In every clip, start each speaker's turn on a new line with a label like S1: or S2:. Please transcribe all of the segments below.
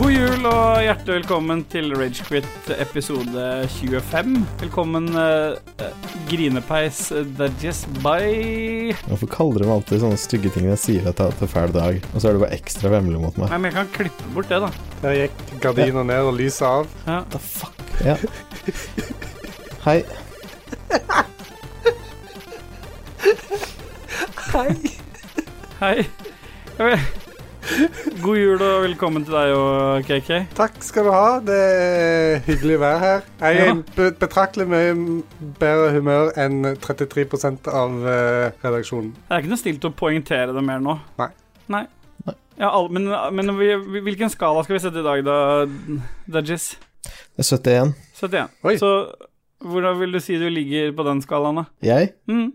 S1: God jul og hjertelig velkommen til Ragequit episode 25. Velkommen eh, eh, Grinepeis eh, Dajess Bye.
S2: Hvorfor kaller de meg alltid sånne stygge ting når jeg sier at jeg har hatt en fæl dag, og så er du bare ekstra vemmelig mot meg?
S1: Nei, men jeg kan klippe bort det, da.
S3: Der gikk gardina ned og lyset av.
S1: Ja.
S2: The fuck? Ja. Hei.
S1: Hei. Jeg vet- God jul og velkommen til deg og KK.
S3: Takk skal du ha. Det er hyggelig å være her. Jeg er
S1: Ja.
S3: i be- betraktelig mye bedre humør enn 33 av eh, redaksjonen.
S1: Det er ikke noe stilt å poengtere det mer nå.
S3: Nei.
S1: Nei.
S2: Nei.
S1: Ja, all, men men vi, hvilken skala skal vi sette i dag, da, Dajess?
S2: Det er 71.
S1: 71.
S3: Oi.
S1: Så hvordan vil du si du ligger på den skalaen, da?
S2: Jeg
S1: Mm.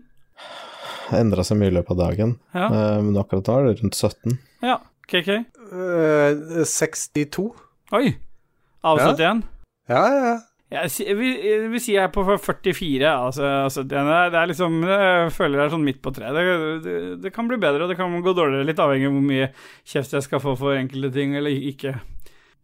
S2: har endra seg mye i løpet av dagen,
S1: Ja.
S2: eh, men akkurat nå er det rundt 17.
S1: ja. KK?
S3: Eh, 62.
S1: Oi. Av
S3: Ja.
S1: 71?
S3: Ja, ja, ja.
S1: Jeg si- jeg vil jeg vil si jeg er på 44, altså. altså det, er, det er liksom Jeg føler jeg er sånn midt på treet. Det, det, det kan bli bedre, og det kan gå dårligere, litt avhengig av hvor mye kjeft jeg skal få for enkelte ting eller ikke.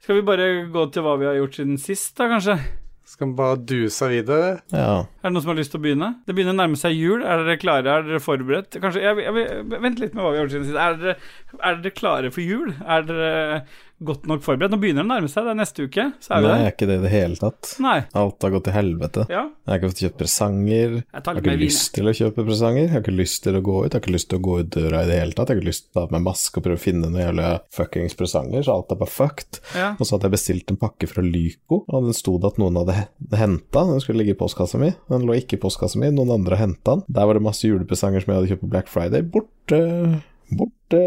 S1: Skal vi bare gå til hva vi har gjort siden sist, da, kanskje?
S3: Skal vi bare duse videre?
S2: Ja.
S1: Er det noen som har lyst til å begynne? Det begynner å nærme seg jul. Er dere klare? Er dere forberedt? Kanskje, jeg, jeg, vil- Vent litt med hva vi har gjort siden sist. Er dere, er dere klare for jul? Er dere godt nok forberedt? Nå begynner det å nærme seg. Det er neste uke, så er vi
S2: Nei, jeg
S1: der.
S2: er ikke det i det hele tatt.
S1: Nei.
S2: Alt har gått til helvete.
S1: Ja.
S2: Jeg har ikke fått kjøpt presanger.
S1: Jeg tar
S2: Jeg har
S1: litt mer
S2: ikke
S1: vin. jeg.
S2: lyst til å kjøpe presanger. Jeg har ikke lyst til å gå ut. Jeg har ikke lyst til å gå ut døra i det hele tatt. Jeg har ikke lyst til å ta på meg maske og prøve å finne noen jævla fuckings presanger, så alt er bare fucked.
S1: Ja.
S2: Og så hadde jeg bestilt en pakke fra Lyco, og den sto det at noen hadde he- henta. Den skulle ligge i postkassa mi. Den lå ikke i postkassa mi, noen andre henta den. Der var det masse julepresanger som jeg hadde kjøpt på Black Friday. Borte. Borte.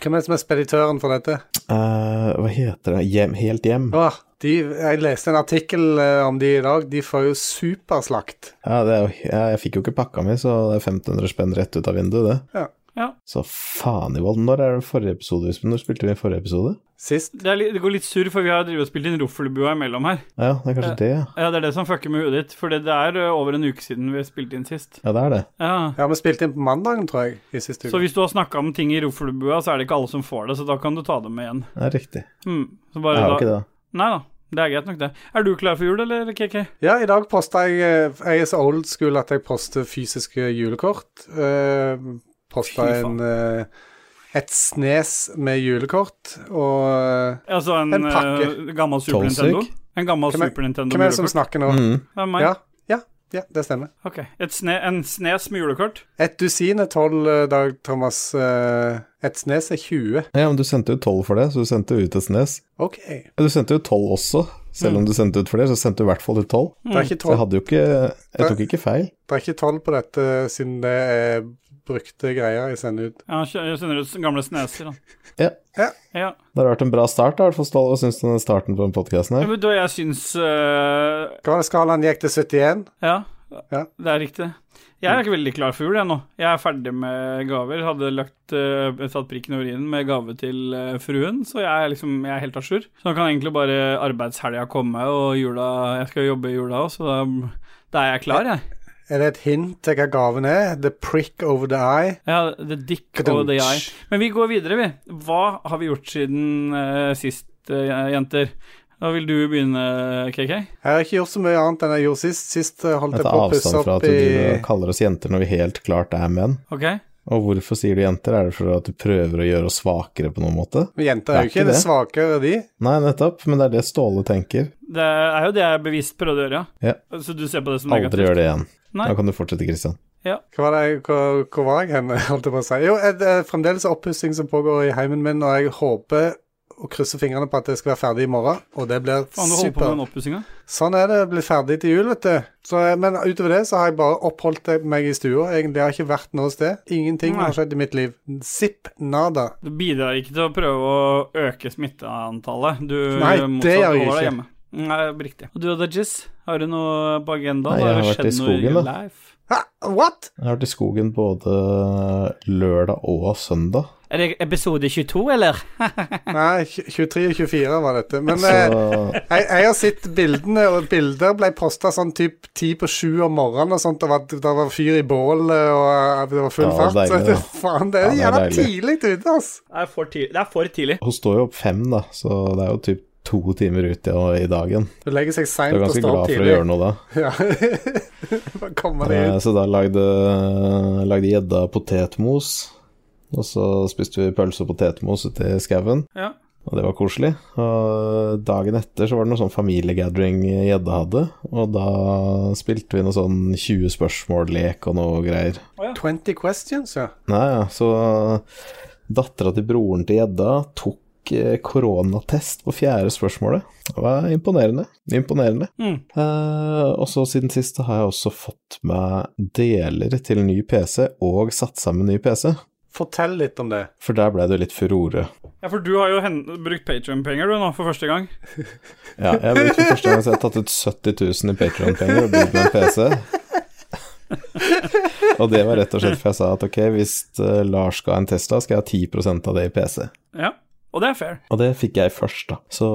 S3: Hvem er det som er speditøren for dette?
S2: Eh, hva heter det? Hjem, helt hjem.
S3: Åh, de, jeg leste en artikkel eh, om de i dag. De får jo superslakt.
S2: Ja, det er jo, jeg, jeg fikk jo ikke pakka mi, så det er 1500 spenn rett ut av vinduet, det.
S1: Ja.
S2: Så faen i vold. Når er det forrige episode? vi spil- Når spilte vi forrige episode?
S3: Sist
S1: Det, er, litt- det går litt surr, for vi har drevet og spilt inn Roffelbua imellom her.
S2: Ja, det er kanskje det, ja.
S1: Ja, Det er det som fucker med huet ditt, for det det er ø, over en uke siden vi spilte inn sist.
S2: Ja, det er det.
S1: Ja.
S3: Ja, vi spilte inn på mandagen, tror jeg. i siste
S1: Så
S3: uke.
S1: hvis du har snakka om ting i Roffelbua, så er det ikke alle som får det, så da kan du ta dem igjen.
S2: Det er riktig.
S1: Hmm. Så
S2: Jeg
S1: bare
S2: har jo
S1: da
S2: ikke det.
S1: Nei da, det er greit nok, det. Er du klar for jul, eller, KK?
S3: Ja, i dag posta jeg eh, Jeg er så old school at jeg poster fysiske julekort. Uh, posta
S1: Fy faen.
S3: en eh, et snes med julekort, og eh,
S1: Altså en,
S3: En pakke.
S1: ø, gammel Super
S2: Tolv
S1: Nintendo?
S2: stykk?
S1: En gammel
S3: Hvem er-
S1: Super Nintendo
S3: Hvem er det som
S1: julekort?
S3: snakker nå?
S2: Mm.
S1: Det er meg.
S3: Ja, ja, ja, det stemmer.
S1: Ok. Et sne, en snes med julekort?
S3: Et dusin er tolv, eh, Dag Thomas. eh, et snes er 20.
S2: Ja, men du sendte jo 12 for det, så du sendte jo ut et snes.
S3: OK.
S2: Ja, Du sendte jo 12 også. Selv om du sendte ut flere, så sendte du i hvert fall ut 12.
S1: Mm.
S3: Det er
S2: Så
S3: ikke
S2: jeg
S3: tolv,
S2: hadde jo ikke Jeg tok ikke feil.
S3: det er ikke tolv på dette, eh, siden det er brukte greier jeg sender ut.
S1: Ja, kjø- jeg sender ut s- gamle sneser, da.
S2: Ja.
S3: Ja.
S1: ja.
S2: Det har vært en bra start, da, i hvert fall, Ståle. Hva syns du om den starten på den podkasten
S1: Ja,
S2: her?
S1: men da jeg syns eh, ø,
S3: Hva var det skalaen gikk til 71?
S1: Ja,
S3: Ja.
S1: det er riktig. Jeg er ikke veldig klar for jul, jeg nå. Jeg er ferdig med gaver. Hadde lagt, eh, tatt prikken over i-en med gave til eh, fruen, så jeg er liksom jeg er helt à jour. Så nå kan egentlig bare arbeidshelga komme, og jula Jeg skal jobbe i jula òg, så da, da er jeg klar, jeg.
S3: Er det et hint til hva gaven er? The prick over the eye?
S1: Ja, the dick og the eye. Men vi går videre, vi. Hva har vi gjort siden eh, sist, eh, jenter? Da vil du begynne, KK?
S3: Jeg har ikke gjort så mye annet enn jeg gjorde sist. Sist eh, holdt
S2: Jeg
S3: jeg
S2: tar
S3: på å pusse
S2: avstand fra
S3: opp
S2: at
S3: i
S2: du kaller oss jenter når vi helt klart er menn.
S1: OK?
S2: Og hvorfor sier du jenter? Er det for at du prøver å gjøre oss svakere på noen måte?
S3: Men Jenter er
S2: Det er
S3: jo ikke
S2: ikke
S3: det
S2: det.
S3: svakere, de.
S2: Nei, nettopp, men det er det Ståle tenker.
S1: Det er jo det jeg bevisst prøvde å gjøre,
S2: Ja.
S1: Så du ser på det som negativt?
S2: Aldri gjør det igjen.
S1: Nei.
S2: Da kan du fortsette, Christian.
S3: Hva var det, jeg- hvor, hvor var jeg hen, holdt jeg på å si? Jo, eh, det er fremdeles oppussing som pågår i heimen min, og jeg håper og krysser fingrene på at det skal være ferdig i morgen, og det blir
S1: Faen, du holder på med
S3: super.
S1: den oppussinga?
S3: Sånn er det, blir ferdig til jul, vet du. Så, eh, men utover det så har jeg bare oppholdt meg i stua, egentlig. Jeg har ikke vært noe sted. Ingenting
S1: Nei.
S3: har skjedd i mitt liv. Zipp nada.
S1: Det bidrar ikke til å prøve å øke smitteantallet. Du
S3: Nei, det
S1: motsatt
S3: gjør jeg
S1: holder deg
S3: ikke.
S1: hjemme. Nei, riktig. Og du og Dajis, har du noe på agendaen?
S2: Nei, jeg
S1: det
S2: har vært i
S1: skjedd noe
S2: skogen,
S1: your
S2: da.
S1: life?
S3: Ha, what?
S2: Jeg har vært i skogen både lørdag og søndag.
S1: Er det episode 22, eller?
S3: Nei, 23 og 24 var dette. Men
S2: Så
S3: eh, Jeg, jeg har sett bildene, og bilder ble posta sånn typ ti på sju om morgenen og sånt. Det var, det var fyr i bålet, og eh, det var full
S2: Ja,
S3: fart.
S2: deilig,
S3: så
S2: da.
S3: det, faen, det er
S2: Ja, det er
S3: jævla
S2: deilig.
S3: tidlig ute, ass.
S1: Det er for tidlig. Det er for tidlig.
S2: hun står jo opp fem, da, så det er jo typ to timer ut i- i dagen.
S3: Du legger seg
S2: Du er
S3: seint og
S2: ganske
S3: står opp
S2: glad for å
S3: tidlig.
S2: gjøre noe da.
S3: Ja. Bare komme deg
S2: Eh,
S3: ut.
S2: Så da lagde lagde gjedda potetmos, og så spiste vi pølse og potetmos ute i skauen.
S1: Ja.
S2: Og det var koselig. Og dagen etter så var det noe sånn familiegathering gjedda hadde, og da spilte vi noe sånn 20 spørsmål-lek og noe greier.
S3: 20 questions, ja.
S2: Nei, ja, så dattera til broren til gjedda tok eh, koronatest på fjerde spørsmålet. Det var imponerende. Imponerende.
S1: Mm.
S2: Eh, og så siden sist har jeg også fått meg deler til ny PC, og satt sammen ny PC.
S3: Fortell litt om det.
S2: For der ble det jo litt furore.
S1: ja, for du har jo hen brukt Patrion-penger du nå, for første gang.
S2: Ja, jeg har brukt for første gang så jeg har tatt ut 70 000 i Patreon-penger og bygd meg en PC. og det var rett og slett for jeg sa at ok, hvis eh, Lars skal ha en Tesla, skal jeg ha 10 av det i PC.
S1: Ja. Og det er fair.
S2: Og det fikk jeg først, da. Så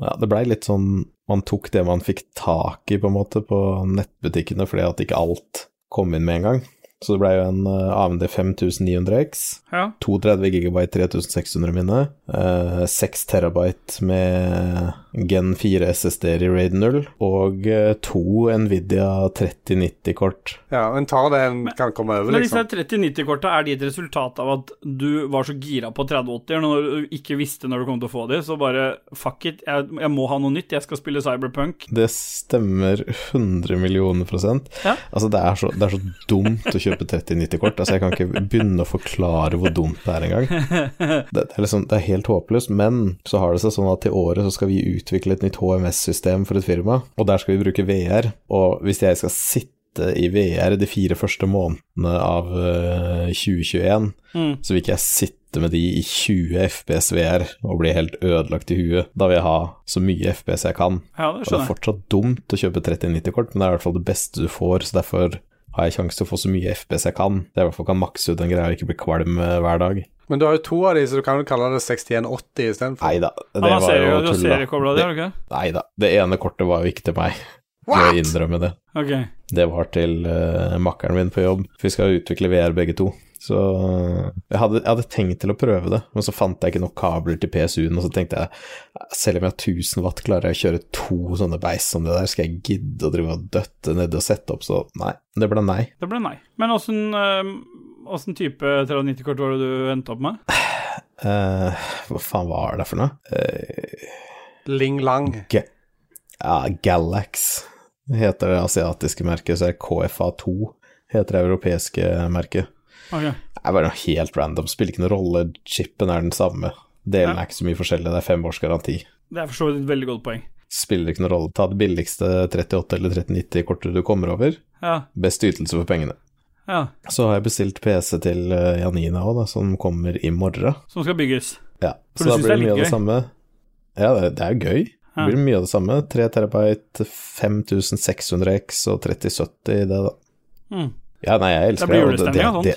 S2: ja, det blei litt sånn Man tok det man fikk tak i, på en måte, på nettbutikkene, fordi at ikke alt kom inn med en gang. Så det blei jo en eh, AMD 5900X.
S1: Ja.
S2: 32 GB 3600 minne, eh, 6 TB med Gen 4 SSD i Raid 0, og eh, to Nvidia 3090-kort.
S3: Ja, men tar det en kan komme over,
S1: Men disse
S3: liksom.
S1: 3090-korta, er de et resultat av at du var så gira på 3080-er når du ikke visste når du kom til å få de, så bare fuck it, jeg, jeg må ha noe nytt, jeg skal spille Cyberpunk.
S2: Det stemmer 100 millioner prosent.
S1: Ja.
S2: Altså, det er, så, det er så dumt å kjøpe 3090-kort. Altså, jeg kan ikke begynne å forklare hvor dumt det er engang. Det, det, er liksom, det er helt håpløst, men så har det seg sånn at til året så skal vi utvikle et nytt HMS-system for et firma, og der skal vi bruke VR. Og hvis jeg skal sitte i VR de fire første månedene av eh, 2021,
S1: Mm.
S2: så vil ikke jeg sitte med de i 20 FPS VR og bli helt ødelagt i huet. Da vil jeg ha så mye FPS jeg kan.
S1: Ja, det
S2: Og det er
S1: skjønner jeg.
S2: fortsatt dumt å kjøpe 3090-kort, men det er i hvert fall det beste du får, så derfor har jeg sjanse til å få så mye FPS jeg kan. Det er i hvert fall kan makse ut den greia og ikke bli kvalm eh, hver dag.
S3: Men du har jo to av de, så du kan jo kalle det 6180 istedenfor.
S2: Nei da, det
S1: Han har
S2: var jo
S1: serie- du har seriekobla de,
S2: tull, da.
S1: har du ikke?
S2: Nei da, det ene kortet var jo ikke til meg, må jeg innrømme det.
S1: Ok.
S2: Det var til uh, makkeren min på jobb, for vi skal jo utvikle VR begge to. Så eh, jeg hadde, jeg hadde tenkt til å prøve det, men så fant jeg ikke nok kabler til PSU-en, og så tenkte jeg "Eh, selv om jeg har 1000 watt, klarer jeg å kjøre to sånne beis som det der, skal jeg gidde å drive og døtte nedi og sette opp, så nei, det ble nei.
S1: Det ble nei. Men åssen Åssen type 3090-kort var det du endte opp med?
S2: Eh, hva faen var det for noe? Eh,
S3: Ling Lang.
S2: ja, Galax heter det asiatiske merket, så er det KFA2 heter det europeiske merket.
S1: Ok.
S2: Det er bare noe helt random, spiller ikke noen rolle, chipen er den samme. Delen er ikke så mye forskjellig, det er fem års garanti.
S1: Det er for så vidt et veldig godt poeng.
S2: Spiller ikke noen rolle, ta det billigste 38 eller 3090-kortet du kommer over,
S1: Ja,
S2: best ytelse for pengene.
S1: ja.
S2: Så har jeg bestilt PC til eh, Janina òg, som kommer i morgen.
S1: Som skal bygges.
S2: Ja,
S1: For
S2: så
S1: du
S2: da
S1: synes
S2: blir
S1: det er
S2: det mye
S1: litt
S2: av det
S1: gøy?
S2: samme. Ja, det, det er gøy.
S1: Ja.
S2: Det blir mye av det samme. 3 terabyte, 5600X og 3070, det da.
S1: Mm.
S2: Ja, nei, jeg elsker
S1: Det blir
S2: og
S1: julestemning av
S2: det,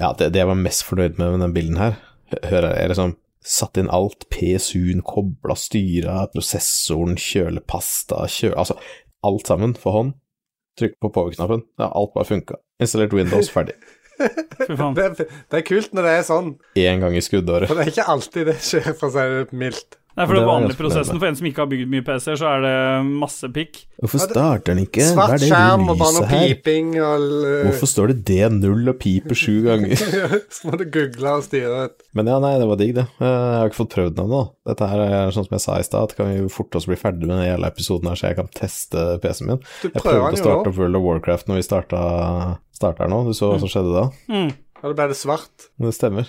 S2: ja, det, det jeg var mest fornøyd med med den bilden her, hø- hører jeg, jeg liksom satt inn alt, PSU-en, kobla styra, prosessoren, kjølepasta, kjø... Altså, alt sammen for hånd. Trykk på power-knappen. Ja, alt bare funka. Installert Windows, ferdig.
S1: Fy faen.
S3: Det, er- det er kult når det er sånn,
S2: Én gang i skuddåret.
S3: for det er ikke alltid det skjer, for å si det mildt.
S1: Nei, for
S2: Det
S1: den
S2: var
S1: vanlige
S2: ganske
S1: prosessen for en som ikke har bygd mye PC-er, så er det masse pikk.
S2: Hvorfor starter den ikke? Hva er
S3: Svart
S2: det
S3: skjerm og bare
S2: lyset
S3: noe
S2: her?
S3: piping og eh,
S2: Hvorfor står det D0 og piper sju ganger?
S3: Så må du google og styre. ut.
S2: Men ja, nei, det var digg, det. Eh, Jeg har ikke fått prøvd den ennå. Dette her er sånn som jeg sa i stad, at kan vi jo forte oss bli ferdig med den jævla episoden her, så jeg kan teste PC-en min.
S3: Du
S2: Jeg
S3: prøver
S2: prøvde å
S3: den jo nå,
S2: starte opp World of Warcraft når vi starta, starta her nå. Du så hva som skjedde da?
S1: Mm.
S3: og da ble det svart.
S2: Men det stemmer.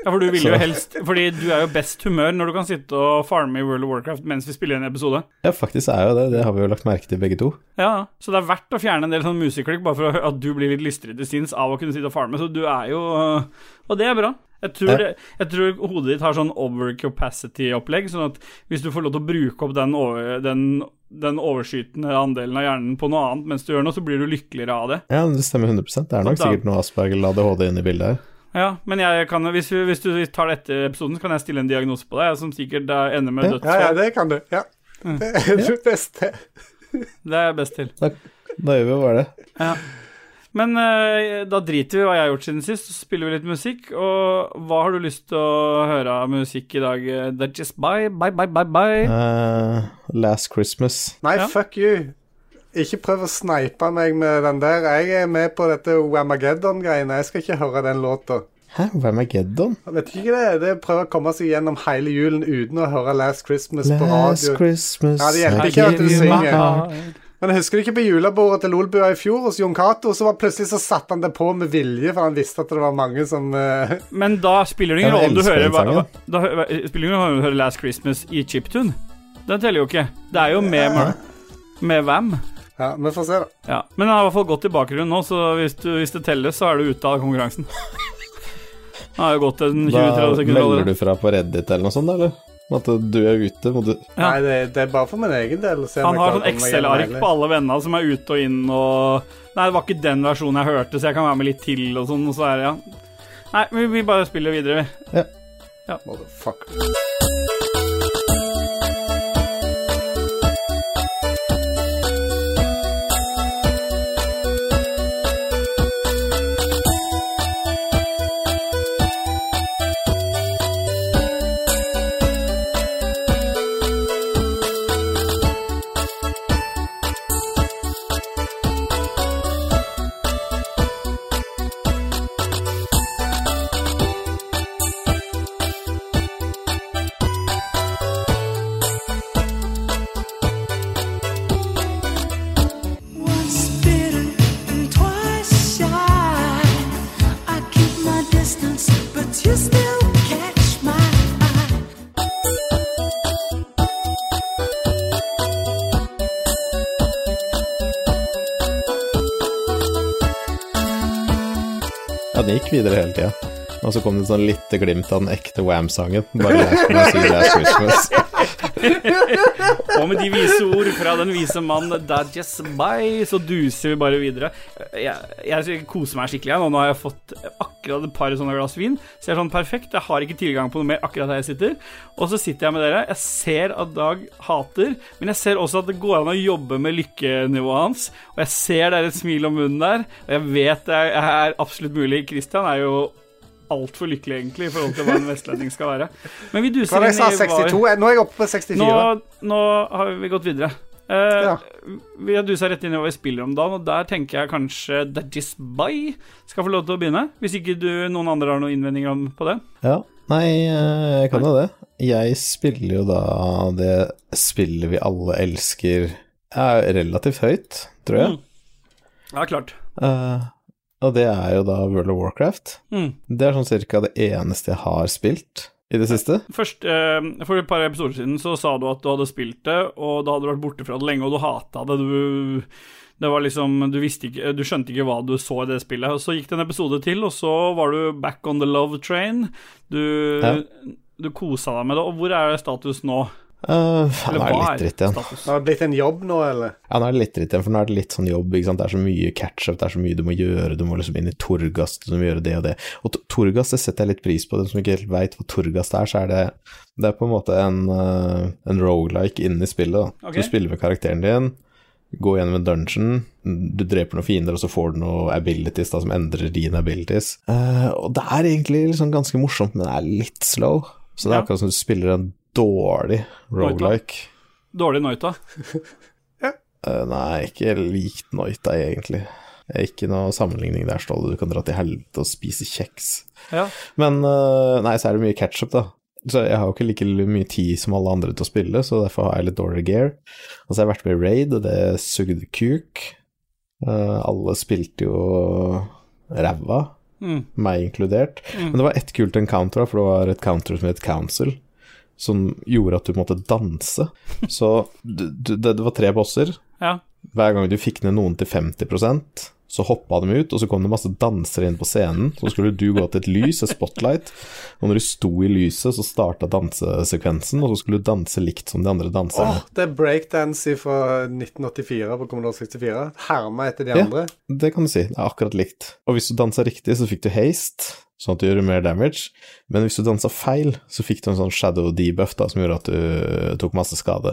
S1: Ja, for du vil jo
S2: Så-
S1: helst Fordi du er jo best humør når du kan sitte og farme i World of Warcraft mens vi spiller en episode.
S2: Ja, faktisk er jo det. Det har vi jo lagt merke til begge to.
S1: Ja, Så det er verdt å fjerne en del sånn museklikk, bare for at du blir litt lystrig til sinns av å kunne sitte og farme. Så du er jo øh, Og det er bra. Jeg tror,
S2: Ja.
S1: det, jeg tror hodet ditt har sånn overcapacity-opplegg, sånn at hvis du får lov til å bruke opp den, over, den, den overskytende andelen av hjernen på noe annet mens du gjør noe, så blir du lykkeligere av det.
S2: Ja, men det stemmer 100 Det er nok
S1: Da-
S2: sikkert noe Asperger eller ADHD inne i bildet her.
S1: Ja, men jeg kan, hvis, vi- hvis du tar det etter episoden, så kan jeg stille en diagnose på deg, som sikkert da ender med
S2: Ja.
S1: dødsfall.
S3: Ja, ja, det kan du. Ja. Det er det beste.
S1: Det er jeg best til.
S2: Da gjør vi jo bare det.
S1: Men eh, da driter vi i hva jeg har gjort siden sist, så spiller vi litt musikk. Og hva har du lyst til å høre av musikk i dag? eh, That's just bye, bye, bye, bye, bye.
S2: Eh, last Christmas.
S3: Nei,
S1: Ja.
S3: fuck you. Ikke prøv å sneipe meg med den der. Jeg er med på dette Wamageddon-greiene. Jeg skal ikke høre den låta.
S2: Hæ, Wamageddon?
S3: Vet ikke det. Det er å prøve å komme seg gjennom hele julen uten å høre Last Christmas på
S2: Last
S3: radio.
S2: Christmas
S3: Ja, det hjelper
S2: I
S3: ikke at
S2: gave
S3: du
S2: you my
S3: synger.
S2: heart.
S3: Men husker du ikke på julebordet til Lolbua i fjor hos Jon Cato? Så var plutselig så satte han det på med vilje, for han visste at det var mange som eh,
S1: Men da spiller det ingen
S2: Jeg
S1: rolle om du
S2: elsker
S1: hører
S2: den
S1: hva,
S2: sangen.
S1: hva- da, hø- hva- spiller det ingen rolle om du hører Last Christmas i chiptune. Den teller jo ikke. Det er jo med, med Vam.
S3: Ja, vi får se, da.
S1: Ja. Men den har i hvert fall gått i bakgrunnen nå, så hvis, du, hvis det telles, så er du ute av konkurransen. Den har jo gått en 20-30
S2: Da
S1: sekunder
S2: melder
S1: allerede.
S2: du fra på Reddit eller noe sånt, da, eller? At du er ute, må du
S1: Ja.
S3: Nei, det, det er bare for min egen del. å se om
S1: Han
S3: jeg
S1: har sånn
S3: klarer å komme meg gjennom
S1: Excel-ark
S3: hele.
S1: på alle vennene som er ute og inn og Nei, det var ikke den versjonen jeg hørte, så jeg kan være med litt til og sånn, og så er det ja. Nei, vi, vi bare spiller videre, vi.
S3: Motherfucker.
S4: Once bitten and twice shy. I keep my distance, but you still catch my eye.
S2: Ja, den gikk videre hele tida. Og så kom det sånn lite glimt av den ekte Wam-sangen. Bare Last Christmas, Last Christmas.
S1: Og med de vise ord fra den vise mann Dajess Bay, så duser vi bare videre. Jeg, jeg koser meg skikkelig her nå. Nå har jeg fått akkurat et par sånne glass vin. Så jeg er sånn perfekt. Jeg har ikke tilgang på noe mer akkurat der jeg sitter. Og så sitter jeg med dere. Jeg ser at Dag hater, men jeg ser også at det går an å jobbe med lykkenivået hans. Og jeg ser deres smil om munnen der, og jeg vet det er absolutt mulig. Christian er jo altfor lykkelig, egentlig, i forhold til hva en vestlending skal være. Men vi
S3: Hva
S1: duser
S3: var det jeg sa?
S1: inn i hva-
S3: 62? Nå er jeg oppe på 64.
S1: nå, nå har vi gått videre. Eh,
S3: Ja.
S1: Vi har dusa rett inn i hva vi spiller om dagen, og der tenker jeg kanskje Dadgies Bye skal få lov til å begynne. Hvis ikke du, noen andre har noen innvendinger om- på det.
S2: Ja. Nei, eh, jeg kan jo det. Jeg spiller jo da det spillet vi alle elsker er relativt høyt, tror jeg.
S1: Mm. Ja, klart.
S2: Eh, og det er jo da World of Warcraft.
S1: Mm.
S2: Det er sånn cirka det eneste jeg har spilt i det siste.
S1: Først, eh, for et par episoder siden så sa du at du hadde spilt det, og da hadde du vært borte fra det lenge, og du hata det. Du, det var liksom, du, visste ikke, du skjønte ikke hva du så i det spillet. Og så gikk det en episode til, og så var du back on the love train. Du,
S2: Ja.
S1: du kosa deg med det. Og hvor er status nå?
S2: Uh, nå er det
S1: hva
S2: litt dritt igjen.
S1: status?
S3: Har det blitt en jobb nå, eller?
S2: Ja, nå er det litt dritt igjen, for nå er det litt sånn jobb, ikke sant. Det er så mye catch-up, det er så mye du må gjøre, du må liksom inn i Torgast, du må gjøre det og det. Og T- Torgast, det setter jeg litt pris på, de som ikke helt veit hva Torgast er, så er det Det er på en måte en, uh, en rogelike inne i spillet, da.
S1: Ok.
S2: Du spiller med karakteren din, går gjennom en dungeon, du dreper noen fiender, og så får du noen abilities da, som endrer dine abilities. Eh, og det er egentlig liksom ganske morsomt, men det er litt slow. Så det er
S1: Ja.
S2: akkurat som du spiller en dårlig rogelike.
S1: Dårlig Noita.
S2: Eh, nei, ikke likt Noita, egentlig. Ikke noe sammenligning der, Ståle. Du kan dra til helvete og spise kjeks.
S1: Ja.
S2: Men eh, nei, så er det mye ketchup, da. Så jeg har jo ikke like mye tid som alle andre til å spille, så derfor har jeg litt dårligere gear. Og så har jeg vært med i raid, og det sugde kuk. Eh, alle spilte jo ræva,
S1: Mm.
S2: meg inkludert. Men det var ett kult encounter, da, for det var et counter som het Council. Som gjorde at du måtte danse. Så du, du, det, det var tre bosser,
S1: ja.
S2: hver gang du fikk ned noen til 50 så hoppa de ut, og så kom det masse dansere inn på scenen. Så skulle du gå til et lys, et spotlight, og når du sto i lyset, så starta dansesekvensen, og så skulle du danse likt som de andre
S3: Åh,
S2: danserne.
S3: det er breakdance fra 1984 på Commodore 64. Herma etter de
S2: Ja.
S3: andre.
S2: Det kan du si, det er akkurat likt. Og hvis du dansa riktig, så fikk du haste, sånn at du gjorde mer damage. Men hvis du dansa feil, så fikk du en sånn shadow debuff da, som gjorde at du eh, tok masse skade.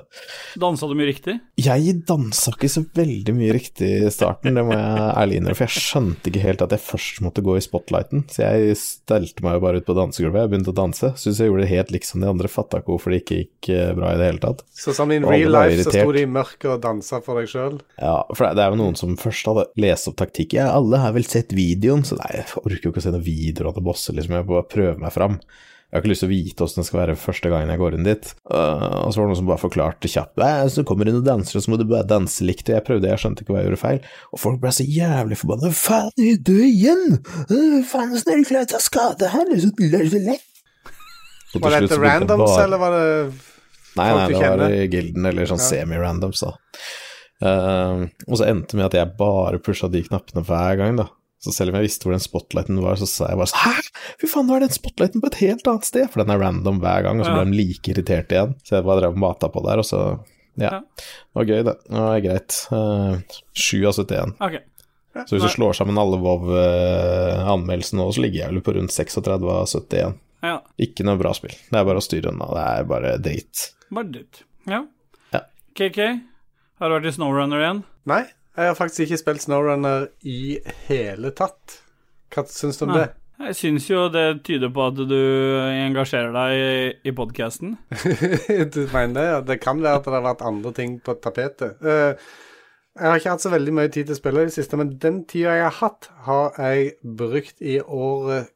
S1: Dansa du mye riktig?
S2: Jeg dansa ikke så veldig mye riktig i starten, det må jeg ærlig innrømme, for jeg skjønte ikke helt at jeg først måtte gå i spotlighten, så jeg stelte meg jo bare ut på dansegulvet, jeg begynte å danse, syntes jeg gjorde det helt likt som de andre, fatta ikke hvorfor det ikke gikk eh, bra i det hele tatt.
S3: Så sånn in
S2: Og alle
S3: real
S2: var
S3: life så
S2: irritert.
S3: sto de i mørket og dansa for deg sjøl.
S2: Ja, for det- det er jo noen som først hadde lest opp taktikk. Ja, alle har vel sett videoen, så nei, jeg orker jo ikke å se noen videoer av det bosset, liksom. Jeg må bare prøve meg fram. Jeg har ikke lyst til å vite åssen det skal være første gangen jeg går inn dit. Øh, og så var det noen som bare forklarte kjapt Nei, så kommer det noen dansere, og så må du bare danse likt. Og jeg prøvde, jeg skjønte ikke hva jeg gjorde feil. Og folk ble så jævlig forbanna. Faen, er du igjen? Øh, Faen, åssen er du klar til å skade her? Det er så- det er så lett. Og til
S3: Var
S2: slutt så begynte
S3: dette
S2: jeg
S3: randoms,
S2: bare-
S3: eller var det
S2: Nei,
S3: folk
S2: nei,
S3: du
S2: det var
S3: kjenner?
S2: i gilden, eller sånn
S3: Ja.
S2: semi-randoms, da. Ehm, og så endte det med at jeg bare pusha de knappene hver gang, da. Så selv om jeg visste hvor den spotlighten var, så sa jeg bare sånn Hæ, fy faen, nå er den spotlighten på et helt annet sted, for den er random hver gang, og så
S1: Ja.
S2: ble de like irritert igjen. Så jeg bare drev og mata på der, og så Ja.
S1: Ja.
S2: Det var gøy, det. Det var greit. Ehm, 7 av 71.
S1: Ok.
S2: Så hvis
S1: Nei.
S2: du slår sammen alle Vov-anmeldelsene nå, så ligger jeg vel på rundt 36 av 71.
S1: Ja.
S2: Ikke noe bra spill. Det er bare å styre unna. Det er bare drit.
S1: Bare dritt. Ja.
S2: Ja.
S1: KK, har du vært i Snowrunner igjen?
S3: Nei, jeg har faktisk ikke spilt Snowrunner i hele tatt. Hva syns du om
S1: Nei.
S3: det?
S1: Jeg syns jo det tyder på at du engasjerer deg i, i podkasten.
S3: du mener det? Ja, det kan være at det har vært andre ting på tapetet. Eh, jeg har ikke hatt så veldig mye tid til å spille i det siste, men den tida jeg har hatt, har jeg brukt i året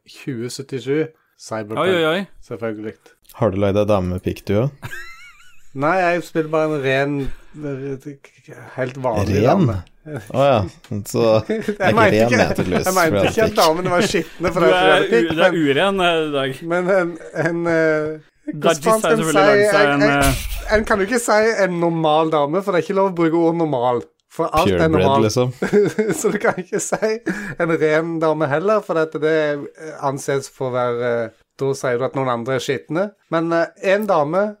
S1: Oi,
S3: 2077.
S1: oi,
S3: Cyberpunk,
S1: oi.
S3: selvfølgelig.
S2: Har du lagd ei dame med pikkdue?
S3: Nei, jeg spiller bare en ren Helt
S2: Ren?
S3: vanlig dame.
S2: Å ja. Så det er ikke ren ment løs.
S3: jeg mente ikke at damene var skitne
S1: Du
S3: for det
S1: er,
S3: er
S1: u,
S3: pikk,
S1: det er uren eh, i dag.
S3: men, men en, en eh, Hvordan
S1: Dajis har
S3: faen skal en
S1: selvfølgelig lagd
S3: si-
S1: seg
S3: jeg-
S1: en
S3: jeg-
S1: eh,
S3: En kan jo ikke si en normal dame, for det er ikke lov å bruke ord normal. For alt er
S2: Purebred,
S3: normalt.
S2: liksom.
S3: Så du kan ikke si en ren dame heller, for dette det anses for å være Da sier du at noen andre er skitne. Men én dame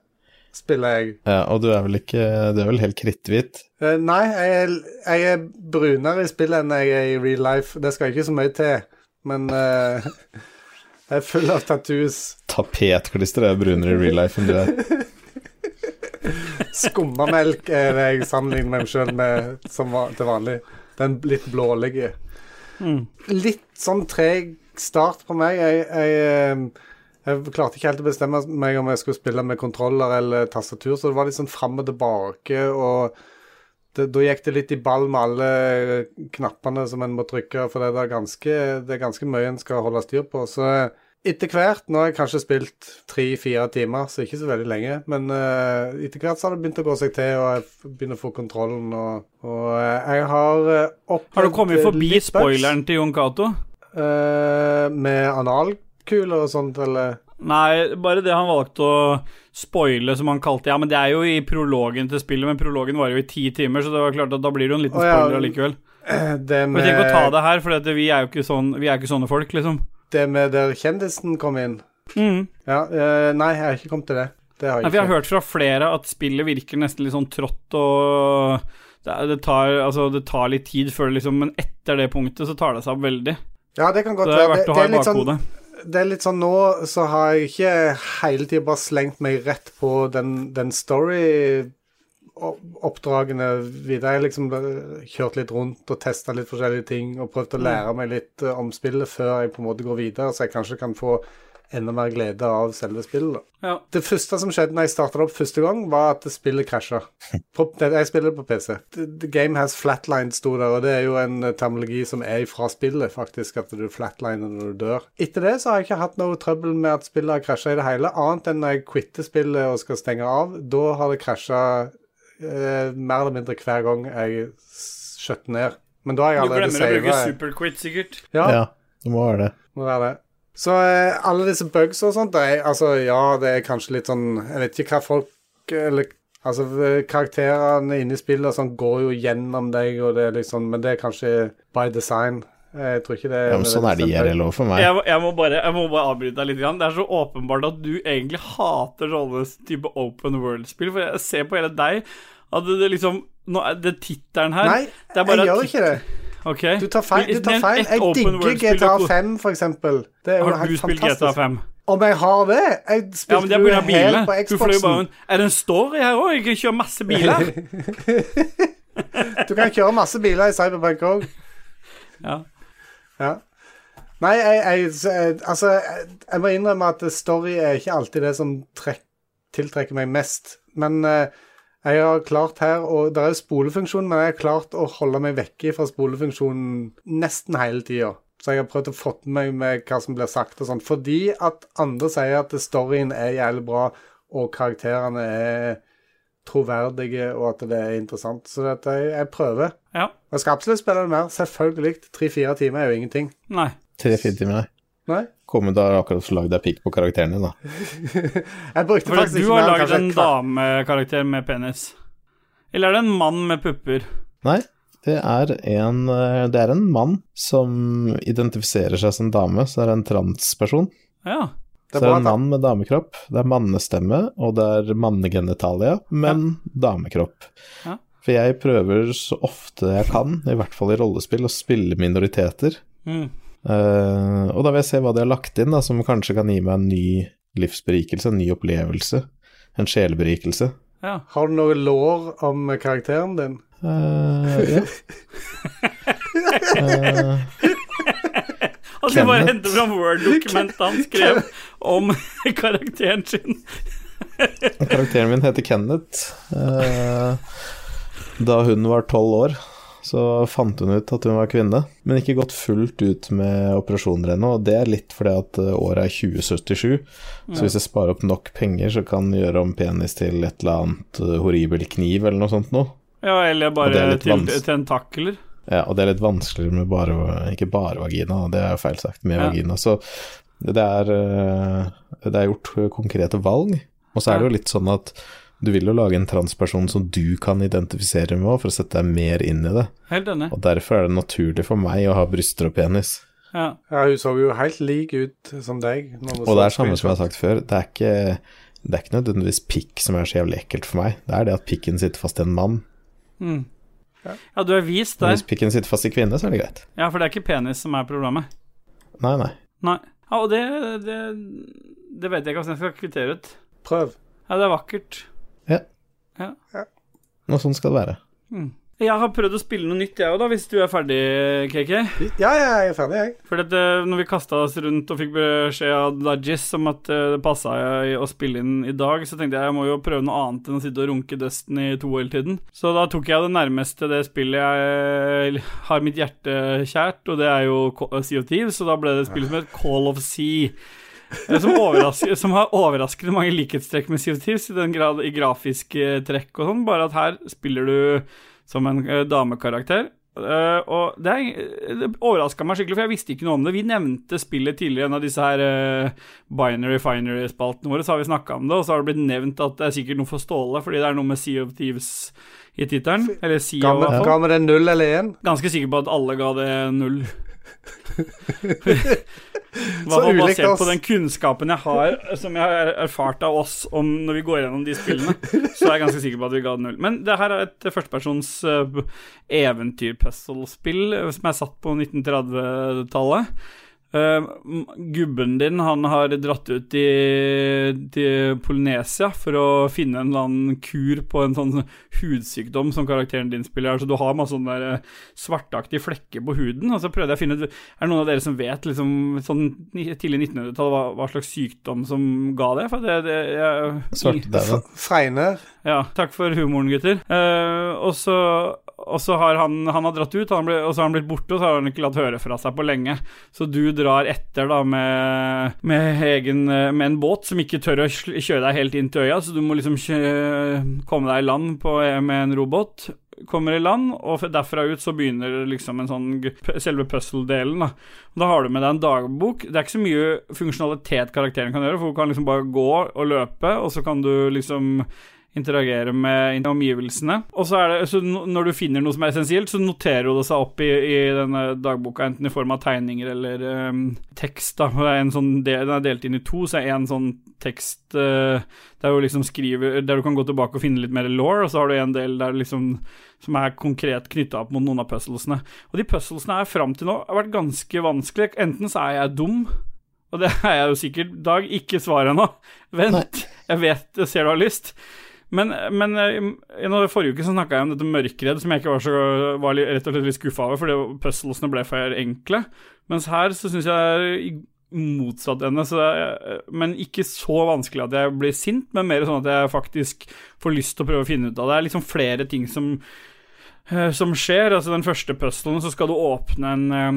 S3: spiller jeg.
S2: Ja, og du er vel ikke Du er vel helt kritthvit?
S3: Eh, nei, jeg er, jeg er brunere i spillet enn jeg er i real life. Det skal ikke så mye til, men eh, jeg er full av tattoos.
S2: Tapetklister er brunere i real life enn du er.
S3: Skummamelk er det jeg sammenligner meg sjøl med som va- til vanlig. Den litt blålige.
S1: mm.
S3: litt sånn treg start på meg. Jeg, jeg, eh, jeg klarte ikke helt å bestemme meg om jeg skulle spille med kontroller eller tastatur, så det var litt sånn fram og tilbake, og det, da gikk det litt i ball med alle knappene som en må trykke, for det er, ganske, det er ganske mye en skal holde styr på. Så etter hvert, nå har jeg kanskje spilt tre-fire timer, så ikke så veldig lenge, men eh, etter hvert så har det begynt å gå seg til, og jeg f- begynner å få kontrollen, og, og eh, jeg har uh, opplevd
S1: Har du kommet
S3: eh,
S1: forbi
S3: litt bugs.
S1: spoileren til Jon Cato?
S3: Eh, med analkuler og sånt, eller
S1: Nei, bare det han valgte å spoile, som han kalte Ja, men det er jo i prologen til spillet, men prologen varer jo i ti timer, så det var klart at da blir det jo en liten
S3: Å, ja.
S1: spoiler allikevel.
S3: Eh, det
S1: Men tenk å ta
S3: med,
S1: det her, for vi er jo ikke, sånn, vi er ikke sånne folk, liksom.
S3: det med der kjendisen kom inn.
S1: Mm.
S3: Ja, eh, nei, jeg har ikke kommet til det. Det har
S1: Nei,
S3: jeg
S1: vi har
S3: ikke.
S1: hørt fra flere at spillet virker nesten litt sånn trått og det, er- det, tar, altså, det tar litt tid før det liksom Men etter det punktet så tar det seg opp veldig.
S3: Ja, det kan
S1: Så
S3: godt
S1: det er
S3: være. Det,
S1: verdt å
S3: det,
S1: ha i
S3: er litt sånn,
S1: bakhodet.
S3: det er litt sånn nå så har jeg ikke hele tida bare slengt meg rett på den, den story-oppdragene videre. Jeg har liksom eh, kjørt litt rundt og testa litt forskjellige ting og prøvd
S1: Mm.
S3: å lære meg litt eh, om spillet før jeg på en måte går videre, så jeg kanskje kan få enda mer glede av selve spillet. da.
S1: Ja.
S3: Det første som skjedde når jeg startet det opp første gang, var at spillet krasja. På- det- Jeg spiller det på PC. The the game has flatlined, sto der, og det er jo en eh, terminologi som er fra spillet, faktisk, at du flatliner når du dør. Etter det så har jeg ikke hatt noe trøbbel med at spillet har krasja i det hele, annet enn når jeg quitter spillet og skal stenge av. Da har det krasja eh, mer eller mindre hver gang jeg s- skjøtter ned. Men da har jeg
S1: Du
S3: allerede
S1: glemmer å bruke
S3: savet.
S1: superquit, sikkert.
S3: Ja,
S2: Ja, det må være det.
S3: må være det. Så eh, alle disse bugs og sånt, det er, altså ja, det er kanskje litt sånn Jeg vet ikke hva folk Eller altså eh, karakterene inne i spillet og sånn går jo gjennom deg, og det er liksom Men det er kanskje by design. Jeg tror ikke det
S2: Ja, men sånn er det i IRL òg for meg.
S1: Jeg, må- jeg, må bare, jeg må bare avbryte deg litt. Grann. Det er så åpenbart at du egentlig hater sånne type open world-spill, for jeg ser på hele deg at det, det liksom nå, er- Det tittelen her
S3: Nei,
S1: det er bare at
S3: jeg gjør ikke det.
S1: OK.
S3: Du tar feil. Du tar feil. Jeg digger GTA 5, for eksempel. Det er jo
S1: Har du
S3: helt
S1: spilt GTA
S3: fantastisk.
S1: 5?
S3: Om jeg har det?
S1: Ja,
S3: Jeg
S1: men det
S3: spilte
S1: er
S3: jo
S1: pga.
S3: helt på
S1: bilene. Du fløy jo bare
S3: Xboxen.
S1: rundt. Er det en story her òg? Jeg kan kjøre masse biler.
S3: Du kan kjøre masse biler i Cyberpunk òg.
S1: Ja.
S3: Ja. Nei, jeg, jeg, jeg Altså, jeg, jeg må innrømme at story er ikke alltid det som trekk, tiltrekker meg mest. Men eh, jeg har klart her Og det er jo spolefunksjon, men jeg har klart å holde meg vekke fra spolefunksjonen nesten hele tida. Så jeg har prøvd å få med meg med hva som blir sagt og sånn. Fordi at andre sier at storyen er jævlig bra, og karakterene er troverdige, og at det er interessant. Så at jeg, jeg prøver.
S1: ja.
S3: Og Jeg skal absolutt spille det mer. Selvfølgelig. Tre-fire timer er jo ingenting.
S1: Nei.
S2: Tre-fire timer, nei.
S3: Nei.
S2: Komme da akkurat så lagd deg pikk på karakteren din, da.
S3: Jeg brukte
S1: For
S3: faktisk
S1: du har
S3: ikke mer enn
S1: lagd
S3: kanskje
S1: en
S3: et kvart.
S1: damekarakter med penis. Eller er det en mann med pupper?
S2: Nei, det er en eh, Det er en mann som identifiserer seg som dame, så det er en transperson.
S1: Ja.
S2: Så
S3: Det
S2: det
S3: er
S2: er en
S3: bra at han-
S2: mann med damekropp, det er mannestemme, og det er mannegenitalia, men damekropp.
S1: Ja.
S2: For jeg prøver så ofte jeg kan, i hvert fall i rollespill, å spille minoriteter.
S1: Mm.
S2: Eh, og da vil jeg se hva de har lagt inn, da, som kanskje kan gi meg en ny livsberikelse, en ny opplevelse. En sjeleberikelse.
S1: Ja.
S3: Har du noe lår om karakteren din?
S2: Eh, ja. Eh,
S1: Altså, jeg bare
S2: Kenneth.
S1: henter fram Word-dokumentet han skrev om karakteren sin.
S2: Karakteren min heter Kenneth. Eh, Da hun var tolv år, så fant hun ut at hun var kvinne, men ikke gått fullt ut med operasjoner ennå. Og det er litt fordi at eh, året er 2077, så hvis jeg sparer opp nok penger, så kan jeg gjøre om penis til et eller annet eh, horribel kniv eller noe sånt noe.
S1: Ja, eller
S2: Og det
S1: bare
S2: er litt
S1: til,
S2: vans-
S1: tentakler.
S2: Ja, og det er litt vanskeligere med bare Ikke bare vagina, det er jo feil sagt, med
S1: Ja.
S2: vagina. Så det er, eh, det er gjort konkrete valg. Og så er det jo litt sånn at du vil jo lage en transperson som du kan identifisere med, for å sette deg mer inn i det.
S1: Helt enig.
S2: Og derfor er det naturlig for meg å ha bryster og penis.
S1: Ja.
S3: Ja, hun så jo helt lik ut som deg. når vi
S2: Og det
S3: så
S2: er samme som jeg har
S3: screenshot.
S2: sagt før, det er ikke, det er ikke nødvendigvis pikk som er så jævlig ekkelt for meg. Det er det at pikken sitter fast i en mann.
S1: Mm. ja, du er vist
S2: Men
S1: der.
S2: hvis pikken sitter fast i kvinne, så er det greit.
S1: Ja, for det er ikke penis som er problemet.
S2: Nei, nei.
S1: Nei. Ja, og det, det, det vet jeg ikke hvordan jeg skal kvittere ut.
S3: Prøv.
S1: Ja, det er vakkert.
S2: Og sånn skal det være.
S1: Jeg har prøvd å spille noe nytt, jeg òg, da, hvis du er ferdig, KK.
S3: Ja, ja, jeg er ferdig, jeg.
S1: For dette, eh, når vi kasta oss rundt og fikk beskjed av Dajis om at eh, det passa å spille inn i dag, så tenkte jeg jeg må jo prøve noe annet enn å sitte og runke døsten i to hele tiden. Så da tok jeg det nærmeste det spillet jeg har mitt hjerte kjært, og det er jo Ca- Sea of Thieves, så da ble det spillet som het Call of Sea. Eh, Som, overrasker, som har overraskende mange likhetstrekk med Sea of Thieves, i, den grad, i grafiske trekk og sånn, bare at her spiller du som en eh, damekarakter. Eh, og det, er- eh, det overraska meg skikkelig, for jeg visste ikke noe om det. Vi nevnte spillet tidligere i en av disse her eh, binary finery-spaltene våre, så har vi snakka om det, og så har det blitt nevnt at det er sikkert noe for Ståle, fordi det er noe med Sea of Thieves i tittelen. Eller Sea
S3: Ga
S1: of
S3: vi- Ga vi det null eller én?
S1: Ganske sikker på at alle ga det null. Hva
S3: Så
S1: var
S3: ulikt
S1: basert
S3: oss.
S1: på den kunnskapen jeg har, som jeg har erfart av oss om når vi går gjennom de spillene, så er jeg ganske sikker på at vi ga det null. Men det her er et førstepersons uh, eventyrpuzzlespill eh, som er satt på 1930-tallet. Eh, m- gubben din han har dratt ut til, til Polynesia for å finne en eller annen kur på en sånn hudsykdom som karakteren din spiller her, så du har masse sånne der eh, svartaktige flekker på huden. Og så prøvde jeg å finne ut Er det noen av dere som vet, liksom, sånn ni- tidlig 1900-tall, hva, hva slags sykdom som ga det? For det, det jeg,
S2: Svartedauden.
S3: Fregner.
S1: ja, takk for humoren, gutter. Eh, og så og så har han, han har dratt ut, han ble, og så har han blitt borte, og så har han ikke latt høre fra seg på lenge. Så du drar etter da med, med, egen, med en båt som ikke tør å sl- kjøre deg helt inn til øya, så du må liksom kjø- komme deg i land på, med en robåt. Kommer i land, og f- derfra ut så begynner liksom en sånn g- p- selve puzzle-delen. Da Og Da har du med deg en dagbok. Det er ikke så mye funksjonalitet karakteren kan gjøre, for hun kan liksom bare gå og løpe, og så kan du liksom interagere med omgivelsene. Og så er det, så no- når du finner noe som er essensielt, så noterer du det seg opp i, i denne dagboka, enten i form av tegninger eller ehm, tekst. Da. Og det er en sånn del, den er delt inn i to, så er en sånn tekst eh, der, du liksom skriver, der du kan gå tilbake og finne litt mer law, og så har du en del der liksom som er konkret knytta opp mot noen av puzzlesene. Og de puzzlesene her fram til nå har vært ganske vanskelige. Enten så er jeg dum, og det er jeg jo sikkert. Dag, ikke svar ennå. Vent. Jeg vet Jeg ser du har lyst. Men, men eh, i noe- forrige uke så snakka jeg om dette mørkredd, som jeg ikke var, så, var li- rett og slett litt skuffa over, fordi puzzlesene ble for enkle. Mens her så syns jeg det er i motsatt ende, så jeg, men ikke så vanskelig at jeg blir sint, men mer sånn at jeg faktisk får lyst til å prøve å finne ut av det. Det er liksom flere ting som eh, som skjer. Altså den første puzzlen, så skal du åpne en eh,